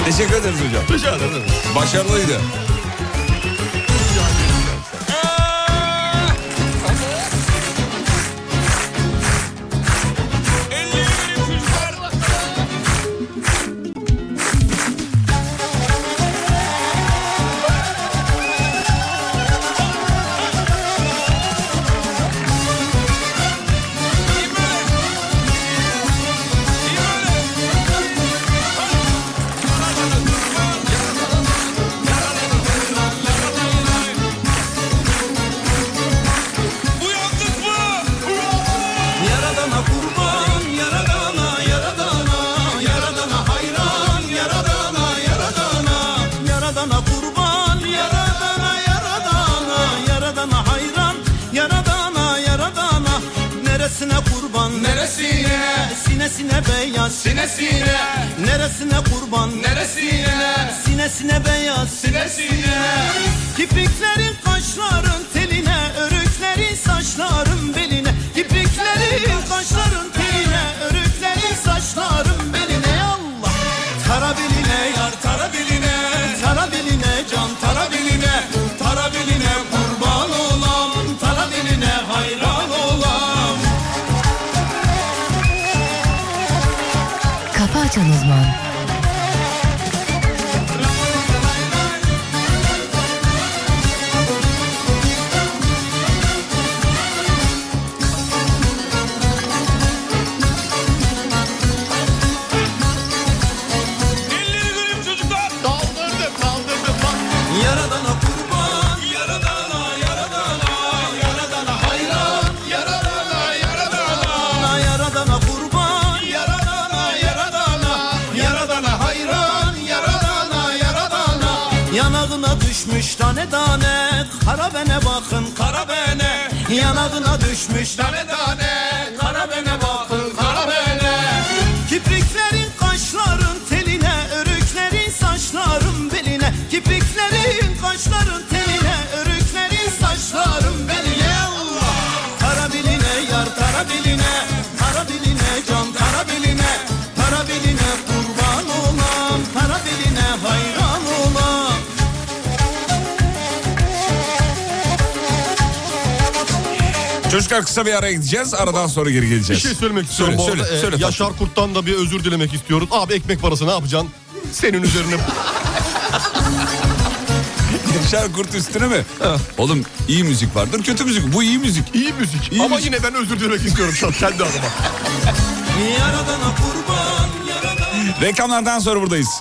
S3: Teşekkür ederiz hocam.
S4: Rica ederim.
S3: Başarılıydı.
S2: Yaradana kurban, yaradana, yaradana, yaradana hayran, yaradana, yaradana, yaradana kurban, yaradana, yaradana, yaradana hayran, yaradana, yaradana. Neresine kurban? Neresine? Sinesine beyaz. Sinesine. Neresine kurban? Neresine? Sinesine beyaz. Sinesine. Kirpiklerin kaşların teline, örüklerin saçların beline. Kirpiklerin kaşların teline, örüklerin saçların beline. Allah. Tara beline yar, tara beline, tara beline can, tara beline, tara beline kurban olam, tara beline hayran olam.
S6: Kafa Açan Uzman
S2: Yaradana kurban, yaradana, yaradana, yaradana hayran, yaradana, yaradana, yaradana kurban, yaradana, yaradana, yaradana hayran, yaradana, yaradana. Yanağına düşmüş tane tane, kara bene bakın, kara bene. Yanağına düşmüş tane tane, kara bene bakın, kara bene. Kipriklerin kaşların teline, örüklerin saçların beline. Kipriklerin kaşların teline, örüklerin saçların beline. Allah! Tara beline yar, tara beline,
S3: Çocuklar kısa bir araya gideceğiz. Aradan sonra geri geleceğiz.
S4: Bir şey söylemek istiyorum
S3: söyle,
S4: bu arada.
S3: Söyle,
S4: Ee,
S3: söyle
S4: Yaşar Kurt'tan da bir özür dilemek istiyoruz. Abi ekmek parası ne yapacaksın? Senin üzerine.
S3: Yaşar Kurt üstüne mi? Oğlum iyi müzik vardır, kötü müzik. Bu iyi müzik.
S4: İyi müzik. Ama yine ben özür dilemek istiyorum şu an kendi adıma.
S3: Reklamlardan sonra buradayız.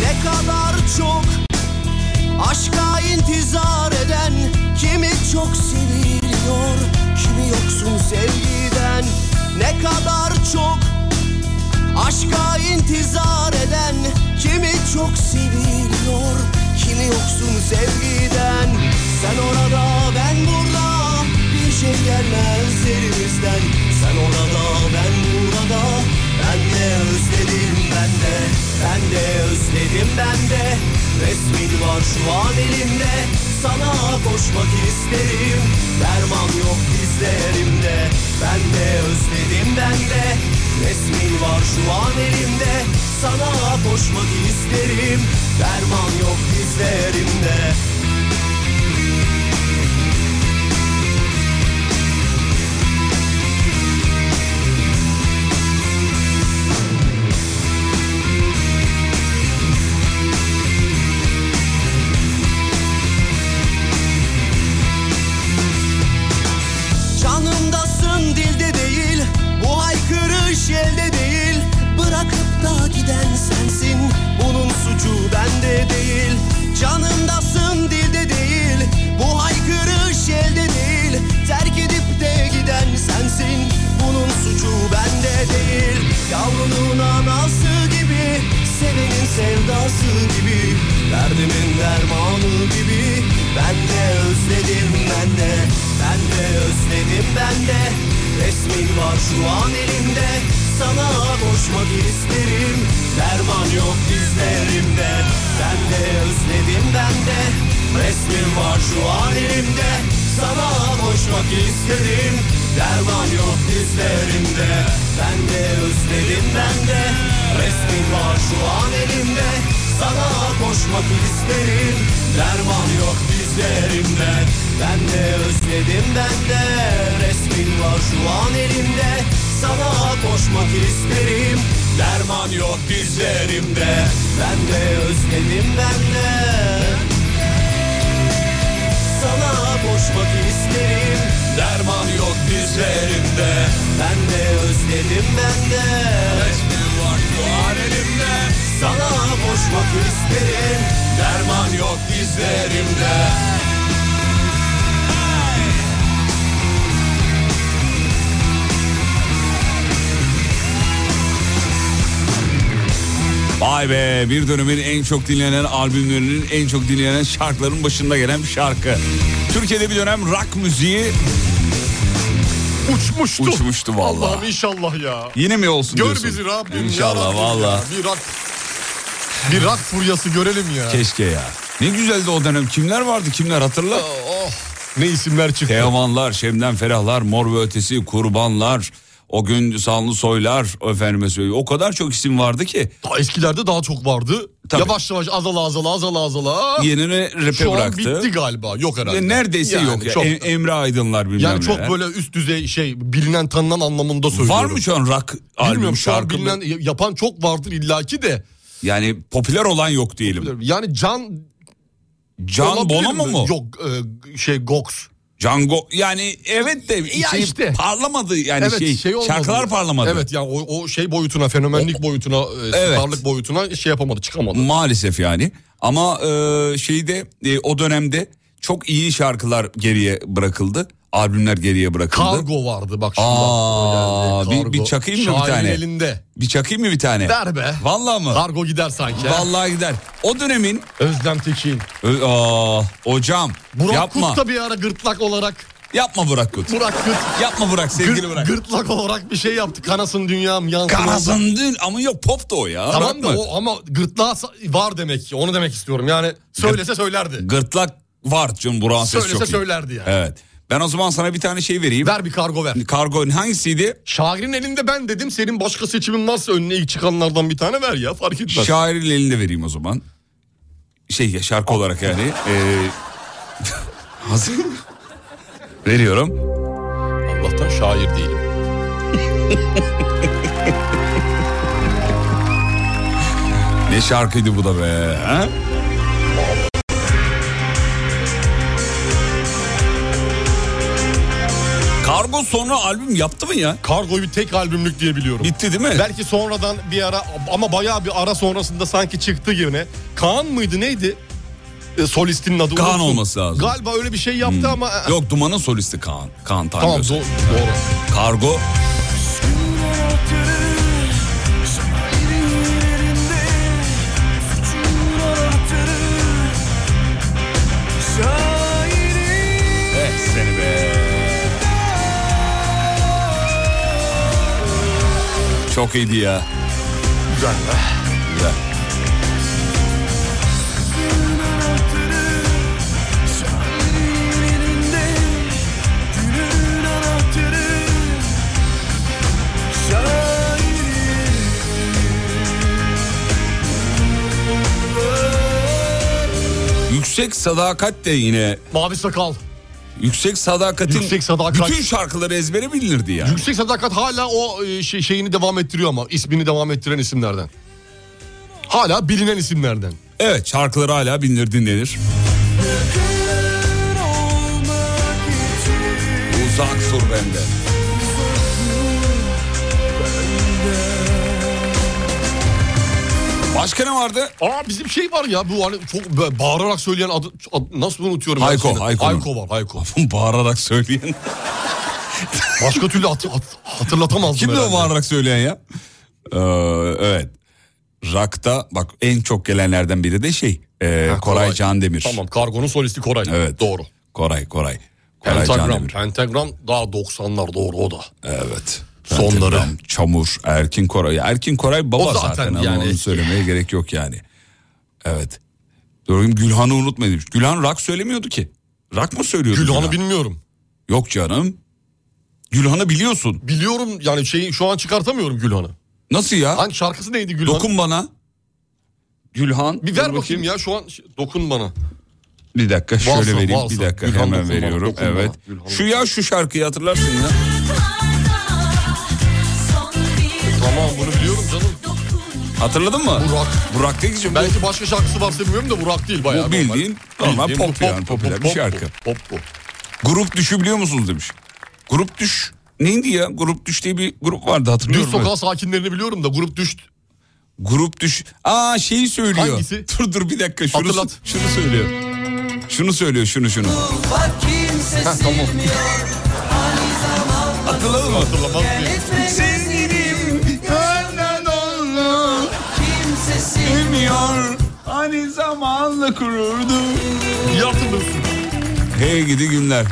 S2: Ne kadar çok aşka intizar eden Kimi çok seviliyor, kimi yoksun sevgiden Ne kadar çok aşka intizar eden Kimi çok seviliyor, kimi yoksun sevgiden Sen orada ben burada bir şey gelmez elimizden Sen orada ben burada ben de özledim ben de Ben de özledim ben de Resmin var şu an elimde Sana koşmak isterim Derman yok dizlerimde Ben de özledim ben de Resmin var şu an elimde Sana koşmak isterim Derman yok dizlerimde Canımdasın dilde değil Bu haykırış elde değil Bırakıp da giden sensin Bunun suçu bende değil Canımdasın dilde değil Bu haykırış elde değil Terk edip de giden sensin Bunun suçu bende değil Yavrunun anası gibi Sevenin sevdası gibi Derdimin dermanı gibi Ben de özledim ben de Ben de özledim ben de Resmin var şu an elimde Sana koşmak isterim Derman yok dizlerimde Ben de özledim ben de Resmin var şu an elimde Sana koşmak isterim Derman yok dizlerimde Ben de özledim ben de Resmin var şu an elimde Sana koşmak isterim Derman yok dizlerimde Ben de özledim ben de Resmin var şu an elimde Sana koşmak isterim Derman yok dizlerimde Ben de özledim ben de Sana koşmak isterim Derman yok dizlerimde Ben de özledim ben de Resmin var şu an elimde Sana koşmak isterim Derman yok dizlerimde
S3: Vay be bir dönemin en çok dinlenen albümlerinin en çok dinlenen şarkıların başında gelen bir şarkı. Türkiye'de bir dönem rock müziği
S4: Uçmuştu.
S3: uçmuştu valla.
S4: Allah'ım inşallah ya.
S3: Yine mi olsun
S4: Gör
S3: diyorsun?
S4: bizi Rabbim ya
S3: İnşallah
S4: Rabbim
S3: valla.
S4: ya. Bir rak, bir rak furyası görelim ya.
S3: Keşke ya. Ne güzeldi o dönem. Kimler vardı kimler hatırla.
S4: Oh ne isimler çıktı.
S3: Teomanlar, Şemden Ferahlar, Mor ve Ötesi, Kurbanlar, o gün Sanlı Soylar, efendime söyleyeyim. O kadar çok isim vardı ki.
S4: Daha eskilerde daha çok vardı.
S3: Tabii.
S4: Yavaş yavaş azala azala azala azala.
S3: Yenini rap'e
S4: Ah, Şu an
S3: bıraktı.
S4: bitti galiba. Yok herhalde.
S3: Ya Neredeyse
S4: Yani
S3: yok. Ya.
S4: Çok,
S3: Em- Emre Aydınlar bilmem
S4: yani çok
S3: neler.
S4: böyle üst düzey şey bilinen tanınan anlamında
S3: Var
S4: söylüyorum.
S3: mı şu an rock albüm
S4: Bilmiyorum şu an
S3: şarkı?
S4: bilinen yapan çok vardır illaki de.
S3: Yani popüler olan yok diyelim.
S4: Yani Can
S3: Can
S4: olabilir
S3: Bonomo
S4: mi?
S3: mu?
S4: Yok e, şey Gox.
S3: Can Go- yani evet de şey
S4: işte.
S3: parlamadı yani
S4: Evet
S3: şey,
S4: şey, olmadı.
S3: şarkılar parlamadı.
S4: Evet ya o, o şey boyutuna, fenomenlik boyutuna, e,
S3: Evet.
S4: starlık boyutuna şey yapamadı, çıkamadı.
S3: Maalesef yani. Ama e, şeyde e, o dönemde çok iyi şarkılar geriye bırakıldı. Albümler geriye bırakıldı.
S4: Kargo vardı bak şundan.
S3: Aa,
S4: Geldi,
S3: bir, bir
S4: kargo.
S3: çakayım mı bir
S4: Şair'in
S3: tane?
S4: elinde.
S3: Bir çakayım mı bir tane?
S4: Ver be.
S3: Vallahi mı?
S4: Kargo gider sanki. ha.
S3: Vallahi gider. O dönemin...
S4: Özlem Tekin.
S3: Ö- Aa, hocam
S4: Burak
S3: yapma.
S4: Kut da bir ara gırtlak olarak.
S3: Yapma Burak Kut.
S4: Burak Kut.
S3: Yapma Burak sevgili
S4: gır-
S3: Burak.
S4: Gırtlak olarak bir şey yaptı. Kanasın dünyam yansın.
S3: Karasın dün ama yok pop da o ya.
S4: Tamam da
S3: Bırakma.
S4: o ama gırtlağı sa- var demek ki. Onu demek istiyorum. Yani söylese söylerdi.
S3: Gırtlak var canım Burak'ın sesi
S4: Söylese
S3: çok iyi.
S4: söylerdi yani.
S3: Evet. Ben o zaman sana bir tane şey vereyim.
S4: Ver bir kargo ver.
S3: Kargo hangisiydi?
S4: Şairin elinde ben dedim. Senin başka seçimin varsa önüne ilk çıkanlardan bir tane ver ya. Fark etmez.
S3: Şairin elinde vereyim o zaman. Şey ya şarkı olarak yani. Ee, hazır. Veriyorum.
S4: Allah'tan şair değilim.
S3: Ne şarkıydı bu da be. ha? Kargo sonra albüm yaptı mı ya?
S4: Kargoyu bir tek albümlük diye biliyorum.
S3: Bitti değil mi?
S4: Belki sonradan bir ara ama bayağı bir ara sonrasında sanki çıktı gibi. Kaan mıydı neydi? E, solistinin adı.
S3: Kaan
S4: unuttum.
S3: olması lazım.
S4: Galiba öyle bir şey yaptı ama.
S3: Yok Duman'ın solisti Kaan. Kaan Tangöz.
S4: Tamam doğru. doğru.
S3: Kargo. Eh seni be. Çok iyiydi ya.
S4: Güzel.
S3: Güzel. Yüksek Sadakat de yine
S4: Mavi Sakal.
S3: Yüksek Sadakat'in
S4: Yüksek Sadakat.
S3: bütün şarkıları ezbere bilinirdi yani.
S4: Yüksek Sadakat hala o e, şey- şeyini devam ettiriyor ama ismini devam ettiren isimlerden. Hala bilinen isimlerden.
S3: Evet şarkıları hala bilinir dinlenir. Uzak dur benden. Başka ne vardı?
S4: Aa bizim şey var ya bu hani çok ba- bağırarak söyleyen adı, adı- nasıl unutuyorum? ben
S3: Hayko,
S4: seni?
S3: Hayko.
S4: Hayko var Hayko.
S3: bağırarak söyleyen.
S4: Başka türlü hat, hat- hatırlatamazdım
S3: Kimdi o
S4: herhalde.
S3: bağırarak söyleyen ya? Ee, evet. Rock'ta bak en çok gelenlerden biri de şey. e, Koray,
S4: Koray.
S3: Candemir.
S4: Tamam Kargo'nun solisti Koray.
S3: Evet.
S4: Doğru.
S3: Koray, Koray. Koray
S4: Pentagram.
S3: Candemir.
S4: Pentagram daha 90'lar doğru o da.
S3: Evet.
S4: Sonları.
S3: Pentagram, Çamur, Erkin Koray. Erkin Koray baba
S4: O zaten
S3: zaten, ama
S4: yani.
S3: onu söylemeye gerek yok yani. Evet. Doğruyum Gülhan'ı unutmayın. Gülhan rock söylemiyordu ki. Rock mı söylüyordu?
S4: Gülhan'ı bilmiyorum.
S3: Yok canım. Gülhan'ı biliyorsun.
S4: Biliyorum yani şeyi şu an çıkartamıyorum Gülhan'ı.
S3: Nasıl ya?
S4: Hangi şarkısı neydi Gülhan?
S3: Dokun bana. Gülhan.
S4: Bir ver
S3: dur
S4: bakayım. ya şu an şey- dokun bana.
S3: Bir dakika şöyle
S4: Valsa,
S3: vereyim.
S4: valsa.
S3: Bir dakika
S4: Gülhan
S3: hemen
S4: dokun bana,
S3: veriyorum.
S4: dokun
S3: evet.
S4: bana, Gülhan
S3: şu ya şu şarkıyı hatırlarsın ya.
S4: Tamam bunu biliyorum canım.
S3: Hatırladın mı?
S4: Burak.
S3: Burak Tekin'cim.
S4: Belki başka şarkısı varsa bilmiyorum da bu rock değil bayağı.
S3: Bu bildiğin normal pop yani, popüler bir şey
S4: bu,
S3: şarkı.
S4: Pop bu.
S3: Grup düşü biliyor musunuz demiş. Grup düş neydi ya? Grup düş diye bir grup vardı
S4: Düz
S3: hatırlıyorum. ben.
S4: sokağı sakinlerini biliyorum da grup düşt.
S3: Grup düş. Aa şeyi söylüyor.
S4: Hangisi?
S3: Dur dur bir dakika şunu,
S4: Hatırlat.
S3: şunu söylüyor. Şunu söylüyor şunu şunu.
S4: Heh, tamam.
S3: Hatırladın mı?
S4: Hatırlamaz mıyım?
S3: Sevgilim benden oldu. Kimse sevmiyor. Hani zamanla kururdu.
S4: İyi hatırlıyorsun.
S3: Hey gidi günler.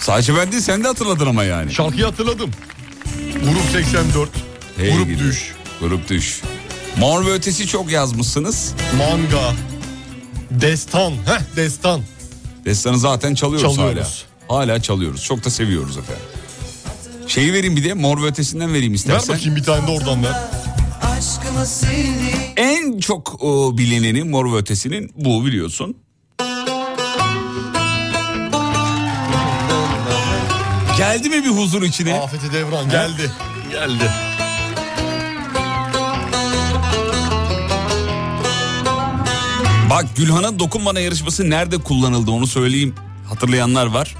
S3: Sadece ben değil sen de hatırladın ama yani.
S4: Şarkıyı hatırladım. Grup 84.
S3: Hey
S4: grup
S3: gidi.
S4: düş.
S3: Grup düş. Mor ve ötesi çok yazmışsınız.
S4: Manga. Destan. Heh destan.
S3: Destanı zaten çalıyoruz,
S4: Çalıyoruz.
S3: hala. Hala çalıyoruz. Çok da seviyoruz efendim. Şeyi vereyim bir de Mor ve Ötesi'nden vereyim istersen.
S4: Ver bakayım bir tane de oradan ver.
S3: En çok e, bilineni Mor ve Ötesi'nin bu biliyorsun. Geldi mi bir huzur içine?
S4: Afeti Devran geldi. Geldi.
S3: Bak Gülhan'ın dokunmana yarışması nerede kullanıldı onu söyleyeyim. Hatırlayanlar var.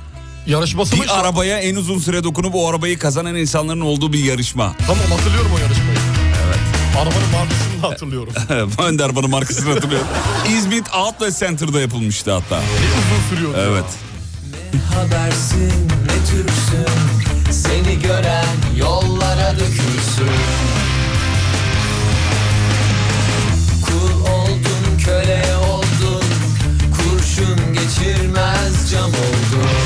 S4: Yarışması mı?
S3: Bir arabaya en uzun süre dokunup o arabayı kazanan insanların olduğu bir yarışma.
S4: Tamam hatırlıyorum o yarışmayı. Arabanın markasını da hatırlıyorum.
S3: ben de arabanın markasını hatırlıyorum. İzmit Outlet Center'da yapılmıştı hatta.
S4: Uzun sürüyordu.
S3: Evet.
S1: habersin ne türsün Seni gören yollara dökülsün Kul oldun köle oldun Kurşun geçirmez cam oldun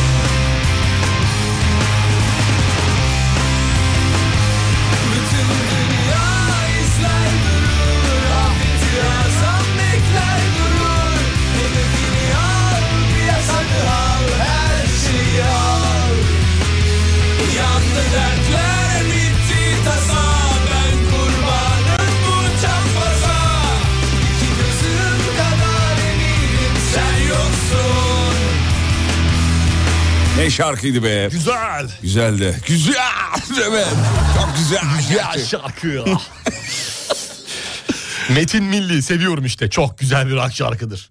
S1: Bütün dünya izler durur Ah itirazam bekler durur Hedefini al piyasanı al her şeyi al Yandı dertler bitti tasa Ben kurbanım bu çapraza İki gözüm kadar eminim sen yoksun
S3: Ne şarkıydı be.
S4: Güzel.
S3: Güzeldi. Güzel. Evet. Çok güzel.
S4: Güzel şarkı ya. Metin Milli seviyorum işte. Çok güzel bir rock şarkıdır.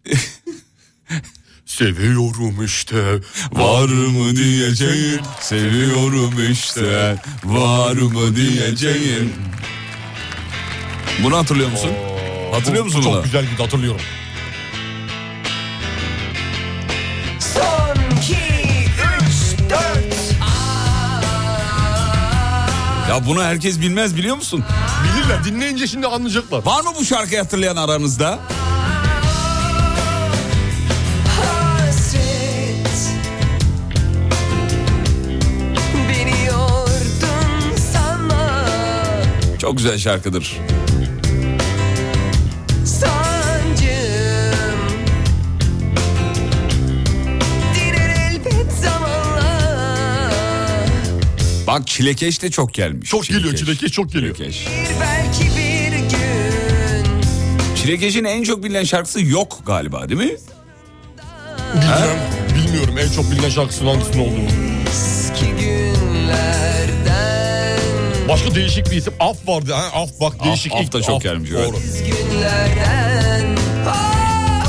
S4: seviyorum işte.
S3: Var mı diyeceğim seviyorum işte var mı diyeceğim. Bunu hatırlıyor musun? Hatırlıyor
S4: Bu-
S3: musun
S4: bu
S3: bunu?
S4: Çok güzel gitti hatırlıyorum.
S1: Son 2, 3, 4
S3: Ya bunu herkes bilmez biliyor musun?
S4: Bilirler dinleyince şimdi anlayacaklar.
S3: Var mı bu şarkıyı hatırlayan aranızda?
S1: hasret Beni yordun sanma
S3: Çok güzel şarkıdır.
S1: sancım Diner elbet zamanla
S3: Bak çilekeş de çok gelmiş.
S4: Çok geliyor çilekeş çok geliyor.
S3: Çilekeş.
S1: Bir belki bir gün
S3: Çilekeş'in en çok bilinen şarkısı yok galiba değil mi?
S4: Bilmiyorum, bilmiyorum en çok bilinen şarkısının hangisinin olduğunu.
S1: eski günlerden
S4: Başka değişik bir isim. Af vardı. Ha, af bak değişik.
S3: Af
S4: ilk-
S3: da çok gelmiş, evet.
S4: Doğru.
S1: günlerden Ah!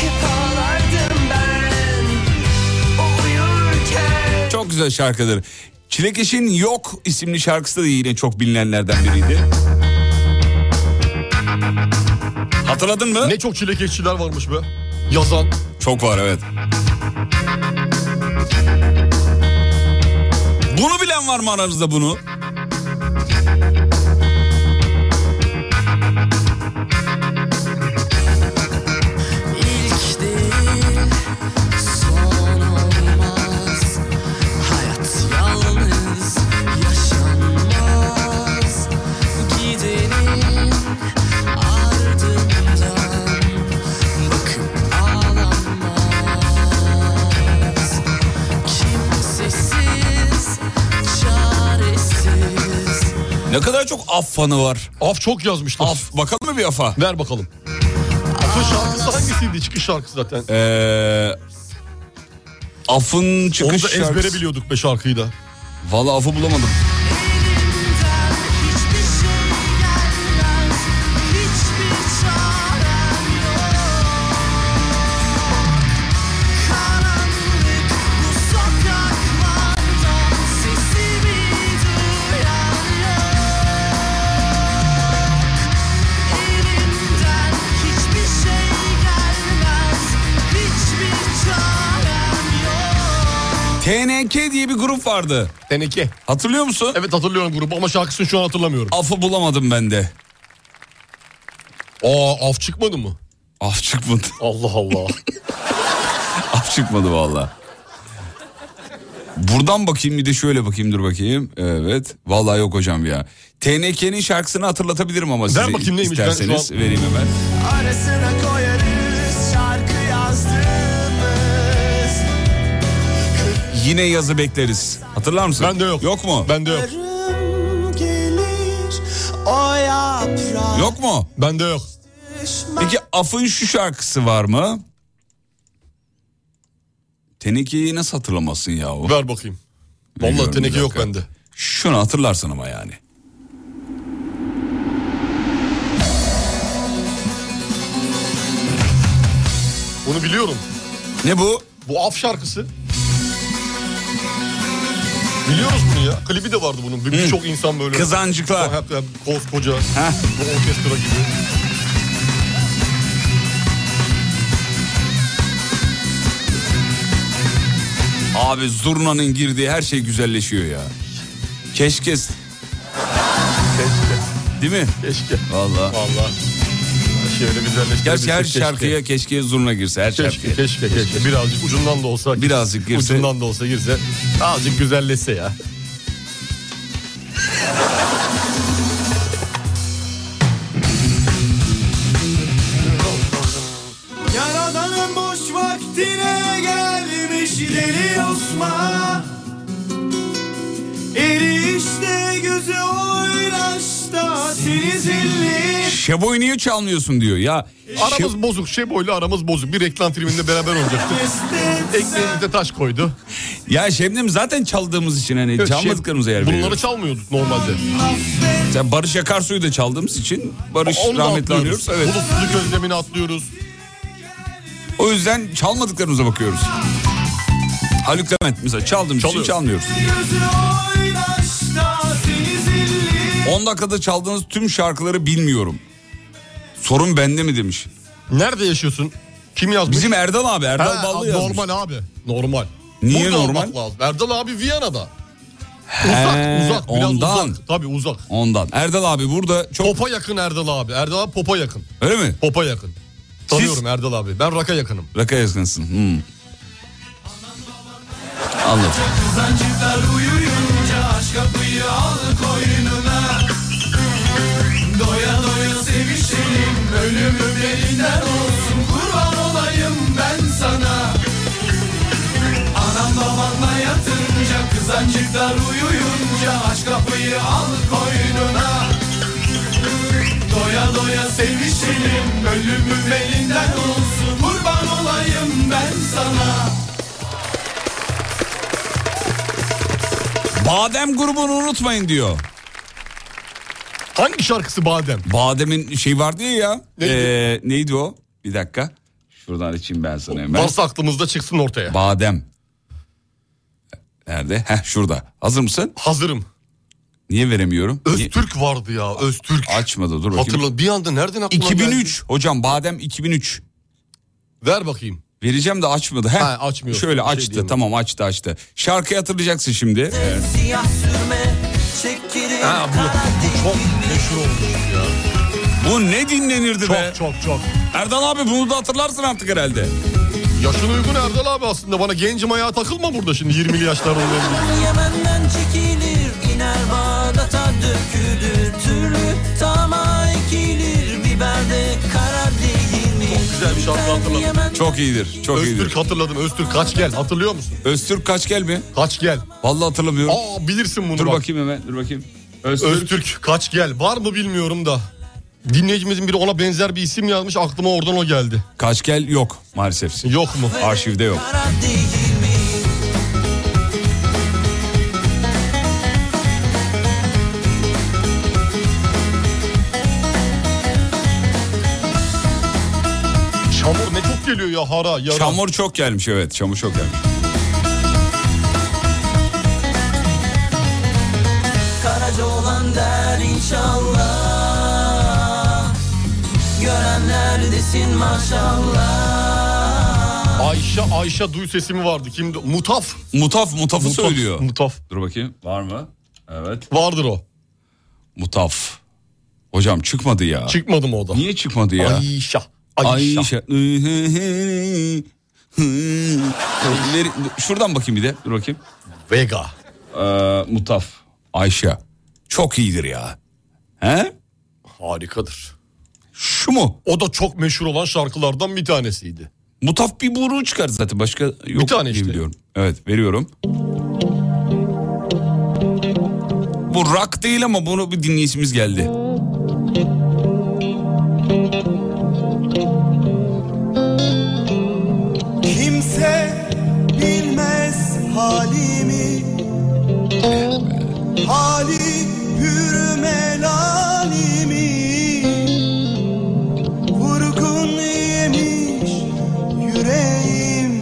S1: Hep ağlardım ben o uyurken
S3: Çok güzel şarkıdır. Çilekeş'in Yok isimli şarkısı da yine çok bilinenlerden biriydi. Hatırladın mı?
S4: Ne çok çilekeşçiler varmış be. Yazan.
S3: Çok var evet. Bunu bilen var mı aranızda bunu?
S1: İlk değil son olmaz Hayat yalnız yaşanmaz Gidenin ardından bakıp ağlanmaz Kimsesiz, çaresiz
S3: Ne kadar çok af fanı var.
S4: Af çok yazmışlar.
S3: Af. Bakalım mı bir afa?
S4: Ver bakalım. Af'ın şarkısı hangisiydi? Çıkış şarkısı zaten.
S3: Ee, afın
S4: Onu da
S3: Hmm, çıkış
S4: ezbere
S3: şarkısı.
S4: biliyorduk be şarkıyı da.
S3: Valla afı bulamadım.
S12: Hiçbir şey gelmez, hiçbir çarem yok. Karanlık bu sokaklardan sesimi duyan yok. Elimden hiçbir şey gelmez, hiçbir çarem yok.
S3: TNK diye bir grup vardı.
S4: Teneke.
S3: Hatırlıyor musun?
S4: Evet hatırlıyorum grubu ama şarkısını şu an hatırlamıyorum.
S3: Afı bulamadım ben de.
S4: Aa af çıkmadı mı?
S3: Af çıkmadı.
S4: Allah Allah.
S3: Af çıkmadı valla. Buradan bakayım bir de şöyle bakayım dur bakayım. Evet. Vallahi yok hocam ya. TNK'nin şarkısını hatırlatabilirim ama size
S4: bakayım neymiş, ben şu
S3: isterseniz
S4: an-
S3: vereyim hemen.
S1: Arasına koyarız şarkı yazdığımız
S3: Yine yazı bekleriz. Hatırlar mısın?
S4: Ben de yok.
S3: Yok mu?
S4: Bende yok.
S1: Yarım gelir o yaprak
S3: Yok mu?
S4: Bende yok.
S1: düşmez
S3: Peki Af'ın şu şarkısı var mı? Tenekeyi nasıl hatırlamasın ya o?
S4: Ver bakayım. Vallahi
S3: Bilmiyorum,
S4: teneke
S3: bir
S4: yok
S3: dakika.
S4: bende.
S3: Şunu hatırlarsın ama yani.
S4: Bunu biliyorum.
S3: Ne bu?
S4: Bu af şarkısı. Biliyoruz bunu ya. Klibi de vardı bunun. Bir- Birçok insan böyle.
S3: Kızancıklar.
S4: Hep- hep Koskoca. Bu orkestra gibi.
S3: Abi zurnanın girdiği her şey güzelleşiyor ya. Keşke. Keşke. Değil mi?
S4: Keşke.
S3: Valla.
S4: Valla. Şöyle güzelleştirebilsek
S3: Gerçi her
S4: keşke.
S3: şarkıya keşke zurna girse her
S4: Keşke,
S3: şarkıya.
S4: keşke, keşke. Birazcık ucundan da olsa.
S3: Birazcık girse.
S4: Ucundan da olsa girse. Azıcık güzelleşse ya.
S2: Yaradanın boş vaktine gelmiş deli Osman Eri işte gözü oynaşta seni zilli
S3: Şeboy niye çalmıyorsun diyor ya.
S4: Aramız bozuk. Şey boylu aramız bozuk. Bir reklam filminde beraber oynayacaktık. Ekmeğimize taş koydu.
S3: Ya Şebnem zaten çaldığımız için hani
S4: Evet,
S3: çalmadıklarımıza yer
S4: Bunları
S3: veriyoruz.
S4: çalmıyorduk normalde.
S3: Sen Barış Akarsu'yu da çaldığımız için Barış
S4: Onu da
S3: rahmetli anıyoruz.
S4: atlıyoruz.
S3: Evet.
S4: Bulutsuzluk özlemini atlıyoruz.
S3: O yüzden çalmadıklarımıza bakıyoruz. Haluk Levent mesela çaldığımız için
S4: Çalıyoruz.
S3: çalmıyoruz.
S2: Gözü oynaşta seni zilli
S3: 10 dakikada çaldığınız tüm şarkıları bilmiyorum. Sorun bende mi demiş.
S4: Nerede yaşıyorsun? Kim yazmış?
S3: Bizim Erdal abi Erdal
S4: Ha,
S3: Ballı yazmış.
S4: Normal abi. Normal.
S3: Niye
S4: Burada
S3: normal?
S4: olmak lazım. Erdal abi Viyana'da. Uzak
S3: He,
S4: uzak. Biraz
S3: ondan.
S4: uzak. Tabii uzak.
S3: Ondan. Erdal abi burada çok
S4: Popa yakın Erdal abi. Erdal abi popa yakın.
S3: öyle mi?
S4: Popa yakın. Tanıyorum Erdal abi. Ben raka yakınım.
S3: Raka yazgınsın. Hmm. Anladım.
S2: Kızancıklar uyuyunca aç kapıyı al koynuna Doya doya sevişelim ölümüm elinden olsun Kurban olayım ben sana Anam babanla yatınca kızancıklar uyuyunca aç kapıyı al koynuna Doya doya sevişelim ölümüm elinden olsun Kurban olayım ben sana
S3: Badem grubunu unutmayın diyor.
S4: Hangi şarkısı Badem?
S3: Badem'in şey vardı ya ya.
S4: Neydi?
S3: Ee, neydi o? Bir dakika. Şuradan açayım ben sana hemen.
S4: Varsa aklımızda çıksın ortaya.
S3: Badem. Nerede? Heh şurada. Hazır mısın?
S4: Hazırım.
S3: Niye veremiyorum? Niye-
S4: Öztürk vardı ya Öztürk.
S3: Açmadı dur bakayım.
S4: Hatırla bir anda nereden aklına geldi?
S3: 2003 hocam Badem 2003.
S4: Ver bakayım.
S3: Vereceğim de açmadı. Heh,
S4: Ha, açmıyor.
S3: Şöyle
S4: Şey
S3: açtı
S4: diyemem.
S3: tamam açtı açtı. Şarkıyı hatırlayacaksın şimdi.
S2: Siyah sürme çektirir
S4: Ha bu, bu çok meşhur olmuş ya.
S3: Bu ne dinlenirdi be?
S4: Çok çok çok.
S3: Erdal abi bunu da hatırlarsın artık herhalde.
S4: Yaşın uygun Erdal abi aslında bana gencim ayağa takılma burada şimdi 20'li yaşlar olmayabilir.
S2: Yemen'den çekilir iner Bağdat'a dökülür Türlü tama ekilir biberde karar değil mi?
S4: Çok güzel bir şarkı hatırladım.
S2: Yemen
S3: Çok iyidir. Çok
S4: Öztürk
S3: iyidir.
S4: hatırladım Öztürk kaç gel hatırlıyor musun?
S3: Öztürk kaç gel mi?
S4: Kaç gel.
S3: Vallahi hatırlamıyorum.
S4: Aa bilirsin bunu
S3: dur
S4: bak.
S3: bakayım hemen dur bakayım. Öztürk.
S4: Öztürk kaç gel var mı bilmiyorum da. Dinleyicimizin biri ona benzer bir isim yazmış aklıma oradan o geldi.
S3: Kaç gel yok maalesef.
S4: Yok mu?
S3: Arşivde yok.
S2: karar değil mi?
S4: Çamur ne çok geliyor ya hara yara.
S3: Çamur çok gelmiş evet çamur çok gelmiş.
S2: Karaca olan der inşallah Görenler desin maşallah
S4: Ayşe Ayşe duy sesimi vardı. Kimdi? Mutaf.
S3: Mutaf mutafı
S4: Mutaf.
S3: söylüyor.
S4: Mutaf.
S3: Dur bakayım var mı? Evet.
S4: Vardır o.
S3: Mutaf. Hocam çıkmadı ya.
S4: Çıkmadı mı o da?
S3: Niye çıkmadı ya?
S4: Ayşe. Ayşe.
S3: Ayşe. Neri- Şuradan bakayım bir de. Dur bakayım.
S4: Vega.
S3: Ee, Mutaf. Ayşe. Çok iyidir ya. He?
S4: Harikadır.
S3: Şu mu?
S4: O da çok meşhur olan şarkılardan bir tanesiydi.
S3: Mutaf bir buruğu çıkar zaten. Başka yok bir
S4: tane
S3: diye
S4: işte.
S3: biliyorum. Evet veriyorum. Bu rock değil ama bunu bir dinleyicimiz geldi.
S2: Kimse bilmez halimi Hali hür melalimi Vurgun yemiş yüreğim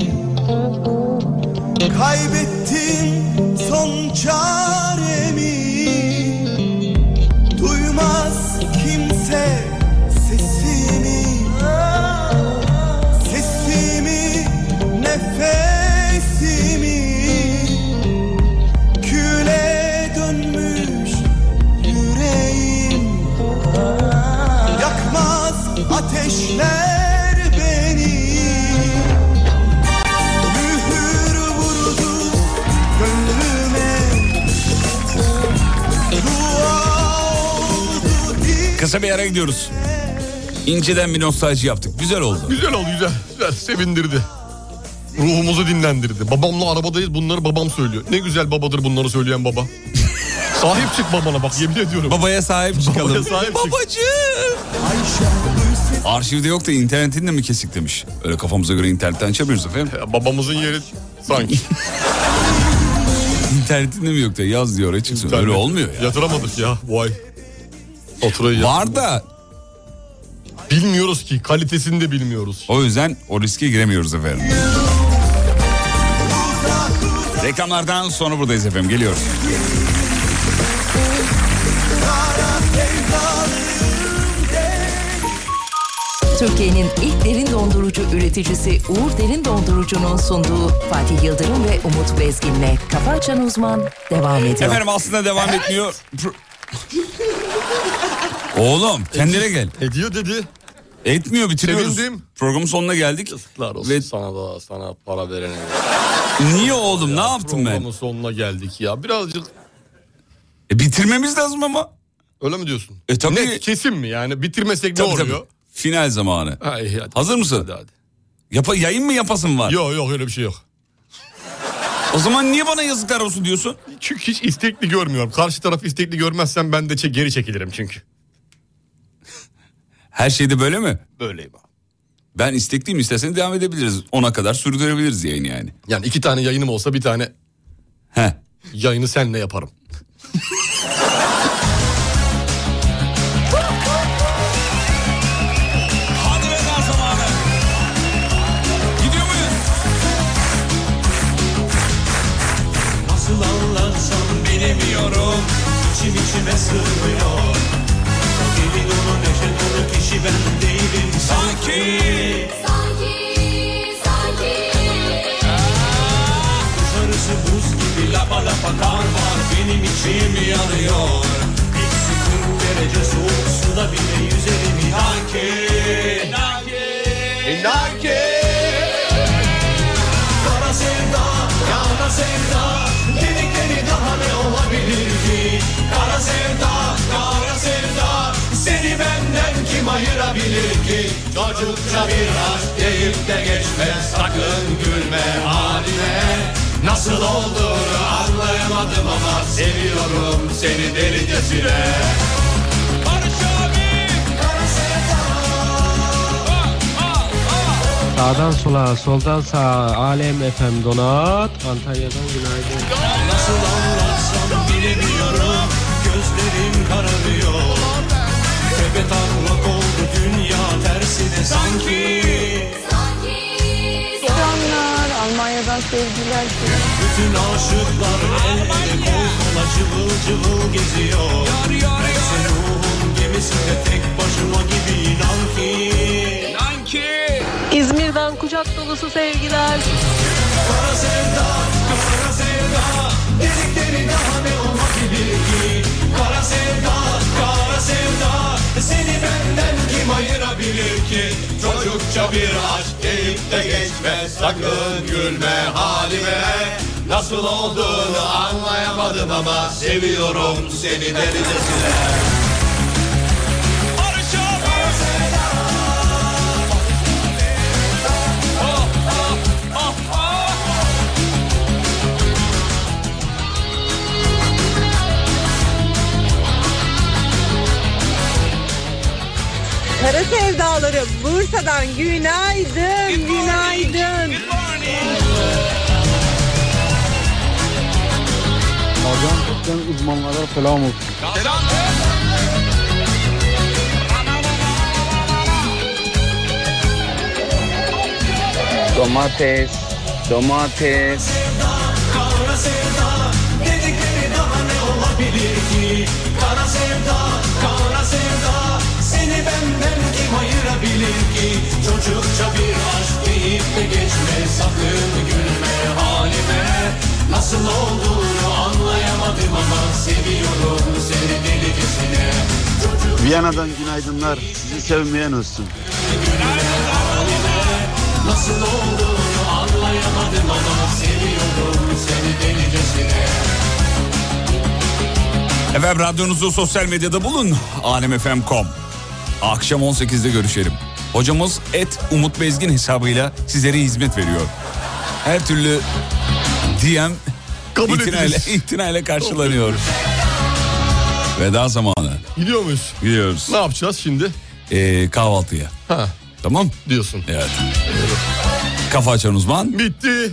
S2: Kaybettim son çaremi Duymaz kimse sesimi Sesimi, nefesimi Küle dönmüş yüreğim Yakmaz ateşler beni Mühür vurdu gönlüme
S3: Kısa bir ara gidiyoruz. İnceden bir nostalji yaptık. Güzel oldu.
S4: Güzel oldu güzel. Güzel sevindirdi. Ruhumuzu dinlendirdi. Babamla arabadayız bunları babam söylüyor. Ne güzel babadır bunları söyleyen baba. sahip çık babana bak yemin ediyorum.
S3: Babaya sahip çıkalım.
S4: Babaya sahip çık.
S3: Babacığım. Arşivde yok da internetin de mi kesik demiş. Öyle kafamıza göre internetten açamıyoruz efendim.
S4: babamızın yeri sanki.
S3: internetin de mi yok da yaz diyor oraya çıksın. Öyle
S4: İnternet.
S3: olmuyor ya.
S4: Yatıramadık ya bu ay. Faturayı
S3: Var da
S4: Bilmiyoruz ki kalitesini de bilmiyoruz.
S3: o yüzden o riske giremiyoruz efendim. Reklamlardan sonra buradayız efendim geliyoruz.
S6: Türkiye'nin ilk derin dondurucu üreticisi Uğur Derin Dondurucu'nun sunduğu Fatih Yıldırım ve Umut Bezgin'le Kafa Açan Uzman devam ediyor.
S3: Efendim aslında devam etmiyor. Pro- Oğlum kendine gel.
S4: Ediyor dedi.
S3: Etmiyor bitiriyoruz.
S4: Sevindim.
S3: Programın sonuna geldik.
S4: Yazıklar olsun
S3: Ve-
S4: sana da sana para verene.
S3: Niye oğlum ne yaptım ben?
S4: Programın sonuna geldik ya. Birazcık
S3: E, bitirmemiz lazım ama.
S4: öyle mi diyorsun?
S3: E tabii.
S4: Net kesin mi yani bitirmesek
S3: Tabii,
S4: ne
S3: tabii.
S4: oluyor?
S3: Final zamanı.
S4: Ay, hadi.
S3: Hazır mısın?
S4: Hadi hadi.
S3: Yapa, yayın mı yapasın var?
S4: Yok yok öyle bir şey yok.
S3: O zaman niye bana yazıklar olsun diyorsun?
S4: Çünkü hiç istekli görmüyorum. Karşı taraf istekli görmezsem ben de çe- geri çekilirim çünkü.
S3: Her şeyde böyle mi?
S4: Böyleyim abi.
S3: Ben istekliyim istersen devam edebiliriz. Ona kadar sürdürebiliriz yayın yani.
S4: Yani iki tane yayınım olsa bir tane
S3: He.
S4: yayını senle yaparım.
S3: Hadi veda zamanı. Gidiyor muyuz?
S2: Nasıl anlatsam bilemiyorum İçim içime sığmıyor Deli dolu neşe dolu kişi ben değilim sanki
S5: Sanki, sanki
S2: Sarısı buz gibi lapa lapa kar var Benim içim yanıyor Eksi 40 derece soğuk suda bile yüzerim inan ki İnan ki İnan ki Kara sevda, yana sevda Dedikleri daha ne olabilir ki Kara sevda, kara sevda Seni benden kim ayırabilir ki Çocukça bir aşk deyip de geçme Sakın gülme haline Nasıl olduğunu anlayamadım ama Seviyorum seni delicesine
S13: Sağdan sola, soldan sağa, Alem FM Donat, Antalya'dan günaydın.
S2: Nasıl anlatsam bilemiyorum Gözlerim kararıyor Tepe taklak oldu dünya tersine sanki
S5: sanki
S11: Selamlar Almanya'dan sevgiler.
S2: Bütün aşıklar el ele kol kola cıvıl cıvıl geziyor Bense ruhum gemisinde tek başıma gibi inan ki
S11: İzmir'den kucak dolusu sevgiler.
S2: Kara sevda, kara sevda Dedikleri daha ne olabilir ki Kara sevda, kara sevda Seni benden kim ayırabilir ki Çocukça bir aşk deyip de geçme Sakın gülme halime Nasıl olduğunu anlayamadım ama Seviyorum seni delicesine
S11: Kara sevdaları Bursa'dan günaydın, günaydın.
S2: Kara sevda, saklığımı gülme halime Nasıl olduğunu anlayamadım ama seviyorum seni delicesine
S1: Viyana'dan günaydınlar. Sizi sevmeyen olsun.
S2: Nasıl olduğunu anlayamadım ama seviyorum seni delicesine
S3: Efendim radyonuzu sosyal medyada bulun. alemfm.com. Akşam 18'de görüşelim. Hocamız et Umut Bezgin hesabıyla sizlere hizmet veriyor. Her türlü DM
S4: Kabul
S3: itinayla,
S4: edilir.
S3: itinayla karşılanıyor. Veda zamanı.
S4: Gidiyor muyuz?
S3: Gidiyoruz.
S4: Ne yapacağız şimdi?
S3: Ee, kahvaltıya.
S4: Ha.
S3: Tamam.
S4: Diyorsun.
S3: Evet. Kafa açan uzman.
S4: Bitti.